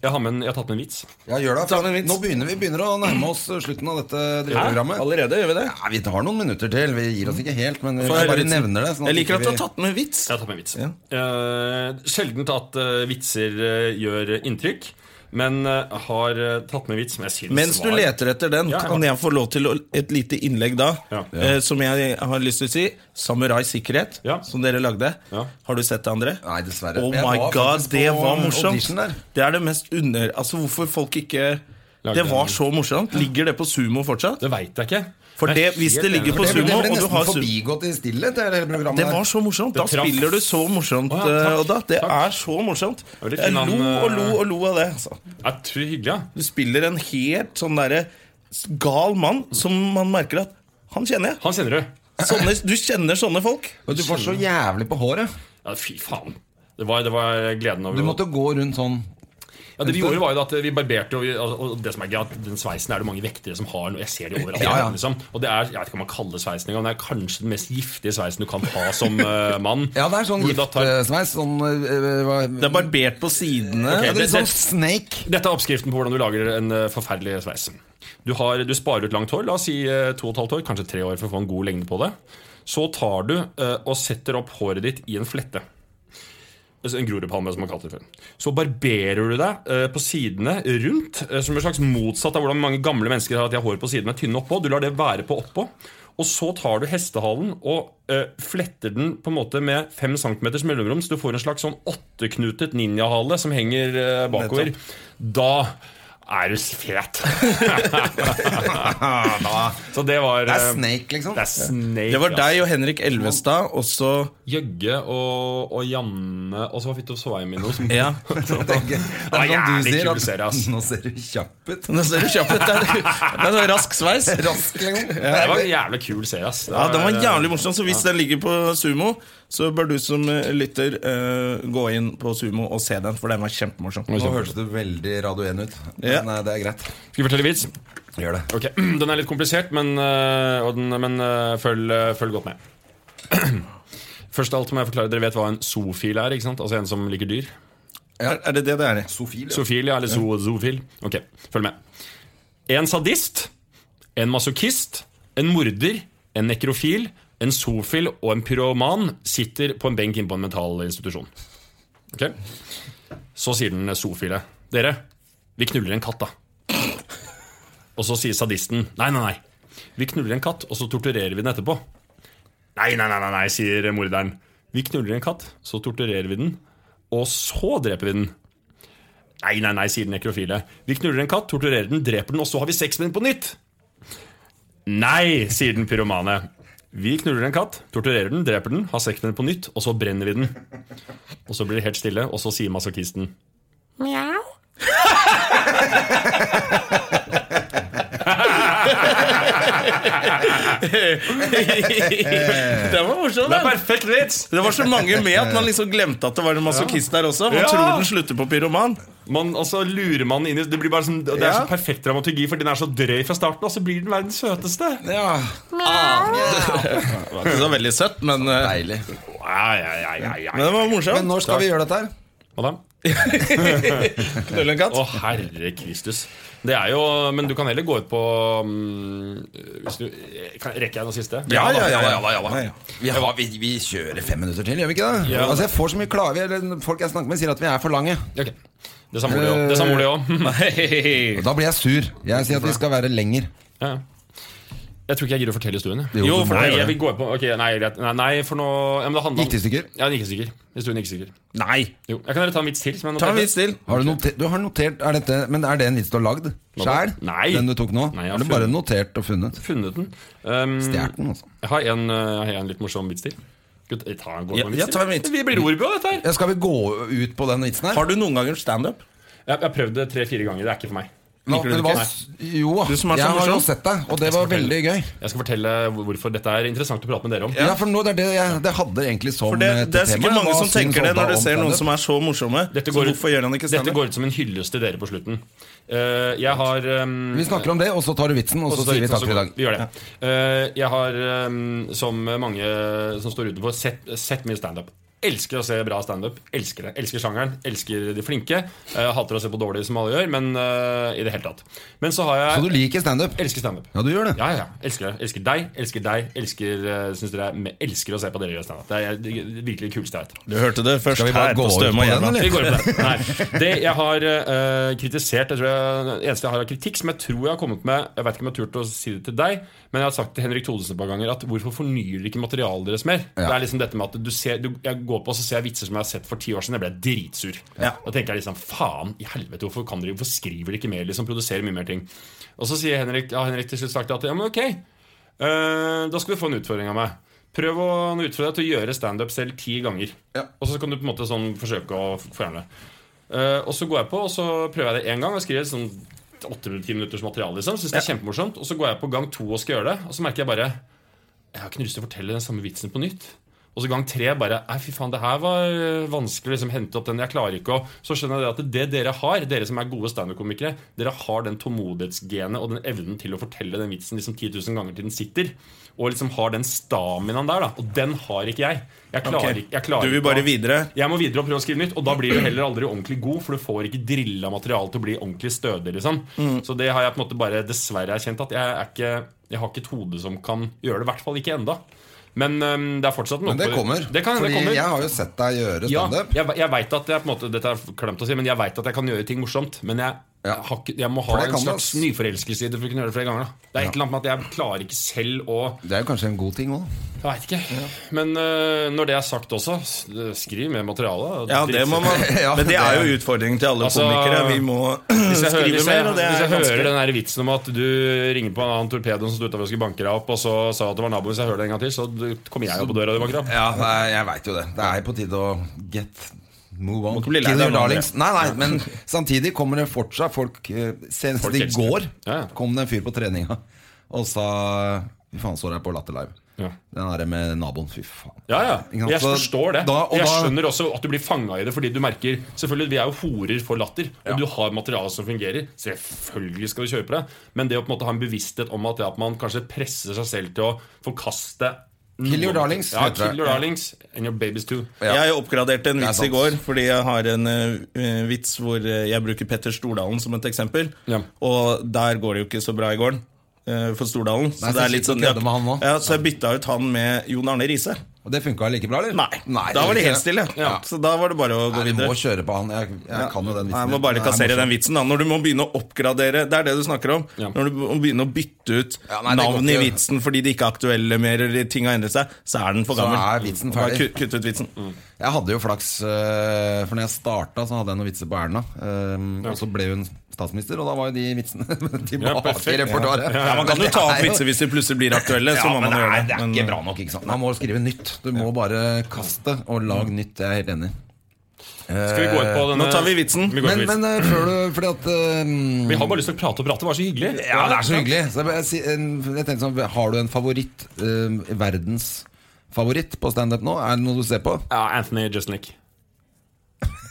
Speaker 4: jeg, har med en, jeg har tatt med en vits.
Speaker 2: Ja, gjør det.
Speaker 1: Ta med en vits.
Speaker 2: Nå begynner vi begynner å nærme oss slutten av dette drivprogrammet.
Speaker 1: Allerede gjør vi det.
Speaker 2: Ja, vi har noen minutter til. Vi gir oss ikke helt, men vi
Speaker 1: Få høre
Speaker 2: bare
Speaker 1: vitsen.
Speaker 2: nevner det. sånn
Speaker 1: Jeg liker
Speaker 2: ikke
Speaker 1: at du har
Speaker 2: vi-
Speaker 1: tatt med vits.
Speaker 4: Jeg tar med en vits.
Speaker 1: Ja.
Speaker 4: Eh, sjeldent at eh, vitser eh, gjør inntrykk, men eh, har eh, tatt med en vits som jeg syns
Speaker 1: Mens du
Speaker 4: var
Speaker 1: leter etter den,
Speaker 4: Ja, ja.
Speaker 1: kan jeg få lov til å- et lite innlegg da,
Speaker 4: Ja.
Speaker 1: eh, som jeg har lyst til å si. Samurai Sikkerhet,
Speaker 4: Ja.
Speaker 1: som dere lagde.
Speaker 4: Ja.
Speaker 1: Har du sett det, André?
Speaker 2: Nei, dessverre.
Speaker 1: Oh
Speaker 2: Jeg
Speaker 1: my
Speaker 2: var
Speaker 1: god,
Speaker 2: faktisk
Speaker 1: det
Speaker 2: på
Speaker 1: var
Speaker 2: audition der.
Speaker 1: morsomt! Det er det mest under... Altså, hvorfor folk ikke
Speaker 4: Lagde
Speaker 1: Det var
Speaker 4: den.
Speaker 1: så morsomt. Ligger det på sumo fortsatt?
Speaker 4: Det veit jeg ikke.
Speaker 1: For
Speaker 4: Jeg er
Speaker 1: det- hvis
Speaker 4: helt
Speaker 1: det ligger
Speaker 4: enig.
Speaker 1: på
Speaker 2: Det ble, det
Speaker 1: Sumo,
Speaker 2: ble
Speaker 1: og du har
Speaker 2: nesten
Speaker 1: Sumo.
Speaker 2: forbigått i stillhet, det hele programmet.
Speaker 1: Det
Speaker 2: der.
Speaker 1: var så morsomt! Da
Speaker 4: Det traff.
Speaker 1: spiller du så morsomt,
Speaker 4: Å ja, takk,
Speaker 1: eh, Odda. Det
Speaker 4: takk.
Speaker 1: er så morsomt.
Speaker 4: var litt
Speaker 1: Jeg
Speaker 4: fin
Speaker 1: lo
Speaker 4: han,
Speaker 1: og
Speaker 4: eh,
Speaker 1: lo og lo av det. altså.
Speaker 4: Ja, tror jeg er hyggelig, ja.
Speaker 1: Du spiller en helt sånn derre gal mann som man merker at Han kjenner jeg.
Speaker 4: Han kjenner du.
Speaker 1: Sånne, du kjenner sånne folk.
Speaker 2: Men du var så jævlig på håret.
Speaker 4: Ja, fy faen. Det var, det var gleden over
Speaker 2: Du måtte gå rundt sånn
Speaker 4: ja, Det vi gjorde, var jo at vi barberte. Og, vi, og det som er gøy, at den sveisen er det mange vektere som har. nå. Jeg ser det overalt.
Speaker 2: Ja, ja.
Speaker 4: Liksom. Og det er, jeg vet ikke om man kaller det sveisen engang. Det er kanskje den mest giftige sveisen du kan ha som eh, mann.
Speaker 2: Ja, det er sånn
Speaker 4: Hvor du da tar-
Speaker 2: giftsveis. Sånn eh, hva-
Speaker 1: Det er barbert på sidene.
Speaker 2: Ja,
Speaker 4: Ok,
Speaker 2: det er
Speaker 4: det-
Speaker 2: litt sånn
Speaker 4: det-
Speaker 2: snake.
Speaker 4: Dette er oppskriften på hvordan du lager en eh, forferdelig sveis. Du, har, du sparer ut langt hår, la oss si eh, to og et halvt år, kanskje tre år for å få en god lengde på det. Så tar du eh, og setter opp håret ditt i en flette. Altså En grorudpalme, som man kaller det. før. Så barberer du deg eh, på sidene rundt, eh, som en slags motsatt av hvordan mange gamle mennesker har at de har hår på sidene tynne oppå. Du lar det være på oppå. Og så tar du hestehalen og eh, fletter den på en måte med 5 cm mellomrom, så du får en slags sånn åtteknutet ninjahale som henger eh, bakover. Da er du fet! Så det var
Speaker 2: Det er
Speaker 4: eh,
Speaker 2: snake, liksom.
Speaker 4: Det er snake,
Speaker 1: Um, Det var
Speaker 4: ass.
Speaker 1: deg og Henrik Elvestad også
Speaker 4: Jøgge og, og Janne Og så var Fitto Sveimino som
Speaker 1: Ja.
Speaker 2: Det er
Speaker 4: Ja,
Speaker 2: sånn du
Speaker 4: jævlig
Speaker 2: sier
Speaker 4: kul
Speaker 2: at
Speaker 4: serie, ass.
Speaker 2: Nå ser du kjapp ut.
Speaker 1: Nå ser du kjapt ut. Det er det er sånn rask sveis.
Speaker 2: Rask, liksom.
Speaker 4: Det var en jævlig kul serie, ass.
Speaker 1: Ja, Den var jævlig morsom, så hvis den ligger på Sumo, så bør du som eh, lytter eh, gå inn på Sumo og se den, for den var kjempemorsom.
Speaker 2: Nå hørtes du veldig Radio 1 ut.
Speaker 1: Ja.
Speaker 2: Men eh, det er greit.
Speaker 4: Skal vi fortelle vits?
Speaker 2: Gjør det.
Speaker 4: Ok, Den er litt komplisert, men, øh, og den, men øh, følg, øh, følg godt med. Først av alt må jeg forklare Dere vet hva en zoofil er? ikke sant? Altså en som liker dyr?
Speaker 1: Er, er det det det er?
Speaker 2: Sofil. ja.
Speaker 4: Zoofil, ja. Eller zo zoofil. Ok, følg med. En sadist, en masochist, en morder, en nekrofil, en zoofil og en pyroman sitter på en benk inne på en mentalinstitusjon. Ok? Så sier den zoofile Dere, vi knuller en katt, da. Og så sier sadisten Nei, nei, nei. Vi knuller en katt, og så torturerer vi den etterpå. Nei, nei, nei, nei, nei sier morderen. Vi knuller en katt, så torturerer vi den, og så dreper vi den. Nei, nei, nei, sier den nekrofile. Vi knuller en katt, torturerer den, dreper den, og så har vi sex med den på nytt. Nei, sier den pyromane. Vi knuller en katt, torturerer den, dreper den, har sex med den på nytt, og så brenner vi den. Og så blir det helt stille, og så sier masochisten
Speaker 1: Den var morsom,
Speaker 4: Det er
Speaker 1: den!
Speaker 4: perfekt vits!
Speaker 1: Det var så mange med at man liksom glemte at det var en masochist der også. Man
Speaker 4: Ja.
Speaker 1: tror den slutter på pyroman.
Speaker 4: Man, altså, lurer man inn i Det blir bare som, det er
Speaker 1: Ja.
Speaker 4: så perfekt dramaturgi, for den er så drøy fra starten, og så blir den verdens søteste.
Speaker 2: Ja,
Speaker 1: Det var ikke så veldig søtt, men, eh,
Speaker 2: deilig.
Speaker 4: Nei, nei, nei, nei,
Speaker 1: men
Speaker 4: nei.
Speaker 1: det var
Speaker 2: Men
Speaker 1: morsomt.
Speaker 2: når skal vi gjøre dette her?
Speaker 4: Hva da?
Speaker 1: Knulle en katt?
Speaker 4: Å, herre Kristus. Det er jo Men du kan heller gå ut på mm, hvis du, kan, Rekker jeg noe siste?
Speaker 2: Ja, ja, ja, ja,
Speaker 1: ja, ja.
Speaker 2: Vi, har, vi, vi kjører fem minutter til, gjør vi ikke det?
Speaker 4: Ja.
Speaker 2: Altså, jeg får så mye klage, eller Folk jeg snakker med, sier at vi er for lange.
Speaker 4: Ok. Det samme ordet òg. Det samme ordet
Speaker 1: Eh,
Speaker 4: også.
Speaker 2: Og da blir jeg sur. Jeg sier at vi skal være lenger.
Speaker 4: Ja, ja. Jeg tror ikke jeg gidder å fortelle historien. jeg.
Speaker 2: Jo,
Speaker 1: for
Speaker 4: nei,
Speaker 1: det-
Speaker 4: jeg vil gå på Ok, nei, greit. Nei, nei, for nå ja, men det handler om-
Speaker 2: Gikk det i stykker?
Speaker 4: Ja, den gikk i stykker. Historien gikk i stykker.
Speaker 1: Nei!
Speaker 4: Jo, jeg kan heller ta en vits til. Som jeg
Speaker 1: Ta en
Speaker 4: noterte.
Speaker 1: vits til.
Speaker 2: Har du, notert, du har notert er dette, Men er det en vits du har lagd sjæl?
Speaker 4: Nei.
Speaker 2: Den du tok nå?
Speaker 4: Nei, jeg har
Speaker 2: har du bare
Speaker 4: funnet-
Speaker 2: notert og funnet?
Speaker 4: Funnet den. Um,
Speaker 1: Mm.
Speaker 2: Stjålet den, altså.
Speaker 4: Jeg har en, eh, jeg har en litt morsom vits til. Skal vi ta en, gå på
Speaker 1: Ja,
Speaker 4: en vits
Speaker 1: ja,
Speaker 4: til?
Speaker 1: ta en vits.
Speaker 4: Vi blir ord på dette her.
Speaker 2: Ja, skal vi gå ut på den vitsen her?
Speaker 1: Har du noen ganger standup?
Speaker 4: Jeg jeg har prøvd det tre-fire ganger. Det er ikke for meg.
Speaker 1: liker
Speaker 2: Nå,
Speaker 1: du det
Speaker 2: det var, jo,
Speaker 1: Du som er så
Speaker 2: jeg har jo
Speaker 1: morsom.
Speaker 2: sett deg, og det var veldig gøy.
Speaker 4: Jeg skal fortelle hvorfor dette er interessant å prate med dere om.
Speaker 2: Ja, for nå, det er det jeg det hadde egentlig som
Speaker 1: For det,
Speaker 2: eh,
Speaker 1: det er
Speaker 2: tema.
Speaker 1: sikkert mange
Speaker 2: Hva
Speaker 1: som
Speaker 2: syns
Speaker 1: tenker det
Speaker 2: Odda
Speaker 1: når
Speaker 2: om
Speaker 1: du ser noen
Speaker 2: standup?
Speaker 1: som er så morsomme.
Speaker 4: Dette
Speaker 1: så
Speaker 4: går,
Speaker 1: hvorfor gjør han ikke
Speaker 4: dette
Speaker 1: standup?
Speaker 4: går ut som en hyllest til dere på slutten. Eh, jeg har ehm,
Speaker 2: Vi snakker om det, og så tar du vitsen, og så
Speaker 4: tar
Speaker 2: sier vi
Speaker 4: litt,
Speaker 2: takk
Speaker 4: og så
Speaker 2: for i
Speaker 4: går-
Speaker 2: dag.
Speaker 4: Vi gjør det. Eh, jeg har, ehm, som mange som står utenfor, sett, sett mye standup. Elsker å se bra standup. Elsker det. Elsker sjangeren. Elsker de flinke. Eh, hater å se på dårlig, som alle gjør, men eh, i det hele tatt. Men så har
Speaker 2: Så du
Speaker 4: jeg
Speaker 2: liker standup?
Speaker 4: Elsker standup.
Speaker 2: Ja, du gjør det.
Speaker 4: Ja, ja, ja. Elsker det. Elsker deg, elsker deg, elsker eh, synes dere er me- Elsker å se på dere gjøre standup. Det er det virkelig kuleste jeg vet.
Speaker 1: Du hørte det først
Speaker 2: Skal vi bare
Speaker 1: her
Speaker 2: gå
Speaker 1: på
Speaker 2: ut
Speaker 1: Støme og
Speaker 2: på den,
Speaker 1: Gjerman.
Speaker 2: eller?
Speaker 4: Vi går på det. Nei. Det jeg har eh, kritisert Det tror jeg, det eneste jeg har av kritikk, som jeg tror jeg har kommet med Jeg vet ikke om jeg har turt å si det til deg, men jeg har sagt til Henrik Thodesen et par ganger at hvorfor fornyer dere ikke materialet deres mer? Det er liksom dette med at du ser du, Jeg går på og så ser jeg vitser som jeg har sett for ti år siden. Jeg ble dritsur.
Speaker 1: Ja.
Speaker 4: Da tenker jeg liksom faen i helvete, hvorfor, kan dere, hvorfor skriver dere ikke mer? Liksom Produserer mye mer ting. Og så sier Henrik, har Henrik til slutt sagt at ja, men ok, eh, da skal du få en utfordring av meg. Prøv å nå utfordre deg til å gjøre standup selv ti ganger.
Speaker 2: Ja.
Speaker 4: Og så kan du på en måte sånn forsøke å fjerne det. Eh, og så går jeg på, og så prøver jeg det én gang. Og skriver sånn 8-10 minutters materiale. Liksom. Synes det er kjempemorsomt Og så går jeg på gang to og skal gjøre det, og så merker jeg bare Jeg har ikke lyst til å fortelle den samme vitsen på nytt. Og så gang tre bare Nei, fy faen, det her var øh, vanskelig å liksom, hente opp den. Jeg klarer ikke å Så skjønner jeg det at det dere har, dere som er gode standup-komikere, dere har den tålmodighetsgenet og den evnen til å fortelle den vitsen liksom 10 000 ganger til den sitter. Og liksom har den staminaen der, da. Og den har ikke jeg. Jeg klarer,
Speaker 1: Ok.
Speaker 4: ikke- jeg klarer
Speaker 1: Du vil
Speaker 4: ikke å-
Speaker 1: bare videre?
Speaker 4: jeg må videre og prøve å skrive nytt, og da blir du heller aldri ordentlig god, for du får ikke drilla materialet til å bli ordentlig stødig. Liksom.
Speaker 2: Mm.
Speaker 4: Så det har jeg på en måte bare dessverre erkjent, at jeg, er ikke, jeg har ikke et hode som kan gjøre det. I hvert fall ikke enda. Men øhm, det er fortsatt noe
Speaker 2: Men det
Speaker 4: på-
Speaker 2: kommer.
Speaker 4: Det kan,
Speaker 2: Fordi
Speaker 4: det kommer.
Speaker 2: jeg har jo sett deg gjøre
Speaker 4: Ja,
Speaker 2: standup.
Speaker 4: jeg, jeg vet at jeg på en måte Dette er klemt å si, men jeg vet at jeg kan gjøre ting morsomt. Men jeg,
Speaker 2: Ja.
Speaker 4: har ikke, jeg må
Speaker 2: For
Speaker 4: ha
Speaker 2: det
Speaker 4: en
Speaker 2: kan du,
Speaker 4: slags
Speaker 2: ass.
Speaker 4: nyforelskelse i det for å kunne gjøre det flere ganger. Da. Det er et eller annet med at jeg klarer ikke selv å
Speaker 2: Det er jo kanskje en god ting òg.
Speaker 4: Jeg veit ikke. Men øh, når det er sagt også, s- skriv mer materiale. og
Speaker 1: Ja, det må man.
Speaker 2: Ja,
Speaker 1: Men det
Speaker 2: det
Speaker 1: er
Speaker 2: er-
Speaker 1: jo utfordringen til alle
Speaker 4: Altså,
Speaker 1: komikere. Vi må
Speaker 4: Hvis jeg, hører,
Speaker 1: skrive
Speaker 4: hvis jeg,
Speaker 1: mer, og det
Speaker 4: hvis
Speaker 1: er
Speaker 4: jeg hører
Speaker 1: vanskelig.
Speaker 4: den der vitsen om at du ringer på han torpedoen som sto utenfor og skulle banke deg opp, og så sa at det var naboen, hvis jeg hører det en gang til, så du- kommer jeg opp på døra og du banker opp.
Speaker 2: Ja, nei, jeg veit jo det. Det er på tide å get move on.
Speaker 1: ikke bli lei
Speaker 2: Kill
Speaker 1: deg
Speaker 2: your
Speaker 1: nå,
Speaker 2: darlings. Nei, nei, men samtidig kommer det fortsatt folk eh, Senest
Speaker 4: Folk
Speaker 2: i
Speaker 4: elsker.
Speaker 2: går
Speaker 4: Ja, ja.
Speaker 2: kom det en fyr på treninga og sa Fy faen, så deg på Latter Live.
Speaker 4: Ja.
Speaker 2: Den derre med naboen, fy faen.
Speaker 4: Ja, ja.
Speaker 2: Ikke sant?
Speaker 4: Jeg
Speaker 2: Så
Speaker 4: forstår det.
Speaker 2: da- og
Speaker 4: jeg
Speaker 2: da-
Speaker 4: skjønner også at du blir fanga i det, fordi du merker Selvfølgelig, vi er jo horer for latter, og du har materiale som fungerer. Selvfølgelig skal du kjøre på det, men det å på en måte ha en bevissthet om at, det at man kanskje presser seg selv til å forkaste
Speaker 2: Kill your
Speaker 4: noe-
Speaker 2: darlings,
Speaker 4: Ja,
Speaker 2: heter det. Eh,
Speaker 4: kill your darlings. And your babies too.
Speaker 2: Ja.
Speaker 1: Jeg oppgraderte en vits i
Speaker 2: sant.
Speaker 1: går, fordi jeg har en eh, vits hvor eh, jeg bruker Petter Stordalen som et eksempel.
Speaker 4: Ja.
Speaker 1: Og der går det jo ikke så bra i gården eh, for Stordalen. Så,
Speaker 2: Nei, så
Speaker 1: det er litt
Speaker 2: slipper
Speaker 1: sånn,
Speaker 2: du å kødde med han nå.
Speaker 1: ja, så jeg bytta ut han med Jon Arne Riise.
Speaker 2: Og det funka like bra, eller?
Speaker 1: Nei. da var det helt stille.
Speaker 4: Ja.
Speaker 1: Så da var det bare å gå
Speaker 2: Nei, Altså, vi må
Speaker 1: videre.
Speaker 2: kjøre på han. Jeg, jeg kan jo den vitsen.
Speaker 1: Nei, jeg må bare
Speaker 2: Den er
Speaker 1: kassere
Speaker 2: morsom.
Speaker 1: den vitsen da Når du må begynne å oppgradere Det er det du snakker om.
Speaker 4: Ja.
Speaker 1: Når du må begynne å bytte ut
Speaker 2: Ja, nei, det går
Speaker 1: navn i
Speaker 2: ikke.
Speaker 1: vitsen fordi de ikke er aktuelle mer, eller ting har endret seg, så er den for
Speaker 2: Så
Speaker 1: gammel.
Speaker 2: er vitsen
Speaker 1: Bare
Speaker 2: ferdig.
Speaker 1: Kutt, kutt ut vitsen.
Speaker 2: Jeg hadde jo flaks, eh, for når jeg starta, så hadde jeg noen vitser på Erna. eh, Og så ble hun statsminister, og da var jo de vitsene tilbake i
Speaker 4: perfekt.
Speaker 2: repertoaret.
Speaker 1: Ja, man kan jo
Speaker 2: Men
Speaker 1: ta
Speaker 2: det
Speaker 1: opp
Speaker 2: er jo-
Speaker 1: vitser hvis de plutselig blir aktuelle. så
Speaker 2: Ja,
Speaker 1: må
Speaker 2: men
Speaker 1: man
Speaker 2: det
Speaker 1: gjøre
Speaker 2: er,
Speaker 1: det.
Speaker 2: det er
Speaker 1: Men-
Speaker 2: ikke bra nok. ikke sant? Man må skrive nytt. Du må bare kaste og lage nytt. Jeg er helt enig.
Speaker 4: Skal vi gå ut på denne
Speaker 1: eh, Nå tar vi vitsen.
Speaker 4: Vi, går
Speaker 2: Men,
Speaker 4: til vitsen.
Speaker 2: men eh, før du Fordi at eh,
Speaker 4: vi har bare lyst til å prate og prate. Det var så hyggelig.
Speaker 2: Ja, det er så hyggelig. Så jeg, bare si- en- jeg tenkte sånn, Har du en favoritt? eh, verdens favoritt på standup nå? Er det noe du ser på?
Speaker 4: Ja, Anthony Justinick.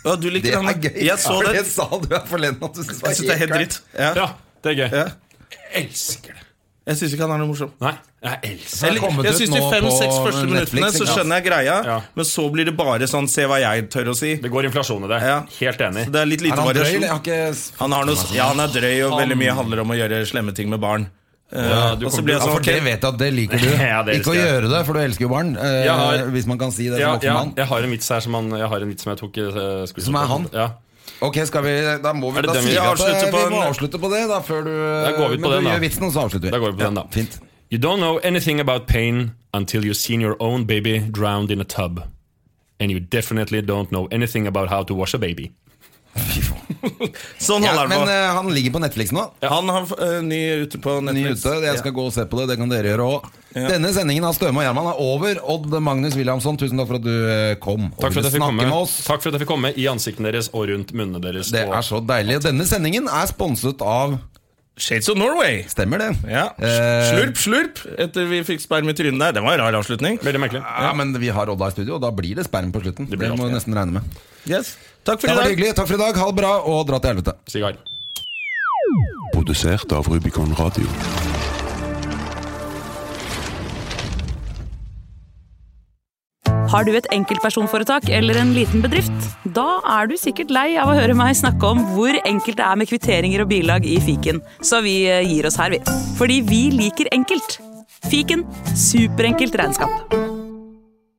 Speaker 1: Ja, du liker
Speaker 2: Det er
Speaker 1: den.
Speaker 2: gøy.
Speaker 1: Jeg så
Speaker 2: For
Speaker 1: det.
Speaker 2: sa du her forleden at du syntes
Speaker 1: Jeg synes det er helt dritt. Ja.
Speaker 4: Ja, det er gøy.
Speaker 1: Ja.
Speaker 4: Jeg elsker det.
Speaker 1: Jeg syns ikke han er noe morsom.
Speaker 4: Nei, jeg elsker
Speaker 1: Eller,
Speaker 2: kommet
Speaker 1: jeg
Speaker 2: ut
Speaker 1: synes De
Speaker 2: nå
Speaker 1: fem-seks
Speaker 2: på
Speaker 1: første
Speaker 2: Netflix,
Speaker 1: minuttene så
Speaker 2: ikke sant?
Speaker 1: skjønner jeg greia,
Speaker 4: Ja.
Speaker 1: men så blir det bare sånn 'se hva jeg tør å si'.
Speaker 4: Det går inflasjon i det.
Speaker 1: Ja.
Speaker 4: Helt enig.
Speaker 1: Så det er litt
Speaker 2: Er
Speaker 1: lite
Speaker 2: han drøy, eller?
Speaker 1: variasjon.
Speaker 2: Jeg har ikke s-
Speaker 1: Han, har noe, ja, han er drøy, og veldig mye handler om å gjøre slemme ting med barn. Eh,
Speaker 4: du
Speaker 1: og så
Speaker 4: kommer
Speaker 1: blir
Speaker 4: til-
Speaker 1: jeg
Speaker 2: ja,
Speaker 1: sånn,
Speaker 2: for det
Speaker 1: ok,
Speaker 2: vet jeg at det liker du.
Speaker 4: Ja, det
Speaker 2: ikke å
Speaker 4: elsker jeg.
Speaker 2: gjøre det, for du elsker jo barn. eh,
Speaker 4: Jeg har-
Speaker 2: hvis man kan si det
Speaker 4: Ja,
Speaker 2: som voksen
Speaker 4: ja,
Speaker 2: mann.
Speaker 4: jeg har en vits her som, han, jeg har en vits som jeg tok i eh, skuespillet.
Speaker 2: Som er han?
Speaker 4: Ja.
Speaker 2: Ok, skal vi Da må vi
Speaker 4: Er det
Speaker 2: da
Speaker 4: den vi
Speaker 2: si
Speaker 4: skal
Speaker 2: at
Speaker 1: avslutte
Speaker 2: eh,
Speaker 1: på
Speaker 2: vi må
Speaker 1: en-
Speaker 2: avslutte på det, da, før du
Speaker 4: Da går vi på
Speaker 2: Men
Speaker 4: den,
Speaker 2: du
Speaker 4: da.
Speaker 2: gjør vitsen, og så avslutter vi.
Speaker 4: Da går vi på
Speaker 2: Ja,
Speaker 4: den, da.
Speaker 2: Fint.
Speaker 4: You don't know anything about pain until you've seen your own baby drowned in a tub. And you definitely don't know anything about how to wash a baby.
Speaker 1: sånn
Speaker 2: Ja,
Speaker 1: holder
Speaker 2: men
Speaker 1: han på.
Speaker 2: eh, han ligger på Netflix nå.
Speaker 1: Han har eh, ny ute på
Speaker 2: Ny
Speaker 1: Netflix.
Speaker 2: ute, Jeg skal gå og se på det. Det kan dere gjøre òg. Denne sendingen av Støme og Gjerman er over. Odd Magnus Williamson, tusen takk for at du eh, kom. og
Speaker 4: Takk for,
Speaker 2: ville
Speaker 4: at jeg fikk
Speaker 2: snakke
Speaker 4: komme.
Speaker 2: med oss.
Speaker 4: Takk for at jeg fikk komme i ansiktene deres og rundt munnene deres.
Speaker 2: Det
Speaker 4: og-
Speaker 2: er så deilig. Denne sendingen er sponset av
Speaker 1: Shades of Norway.
Speaker 2: Stemmer det?
Speaker 1: Ja.
Speaker 2: Eh,
Speaker 1: Slurp, slurp, etter vi fikk sperm i trynet der. Det var en rar avslutning.
Speaker 4: Veldig merkelig.
Speaker 2: Ja, men vi har Odda i studio, og da blir det sperm på slutten. Det,
Speaker 4: blir
Speaker 2: må
Speaker 4: alltid,
Speaker 2: vi
Speaker 4: ja.
Speaker 2: nesten regne med.
Speaker 1: Yes. Takk for
Speaker 2: Det
Speaker 1: i
Speaker 2: var
Speaker 1: dag.
Speaker 2: hyggelig. Takk for i dag. Ha det bra, og dra til helvete.
Speaker 4: Sigar.
Speaker 5: Produsert av Rubicon Radio.
Speaker 6: Har du et enkeltpersonforetak eller en liten bedrift? Da er du sikkert lei av å høre meg snakke om hvor enkelt det er med kvitteringer og bilag i fiken, så vi eh, gir oss her, vi. Fordi vi liker enkelt. Fiken superenkelt regnskap.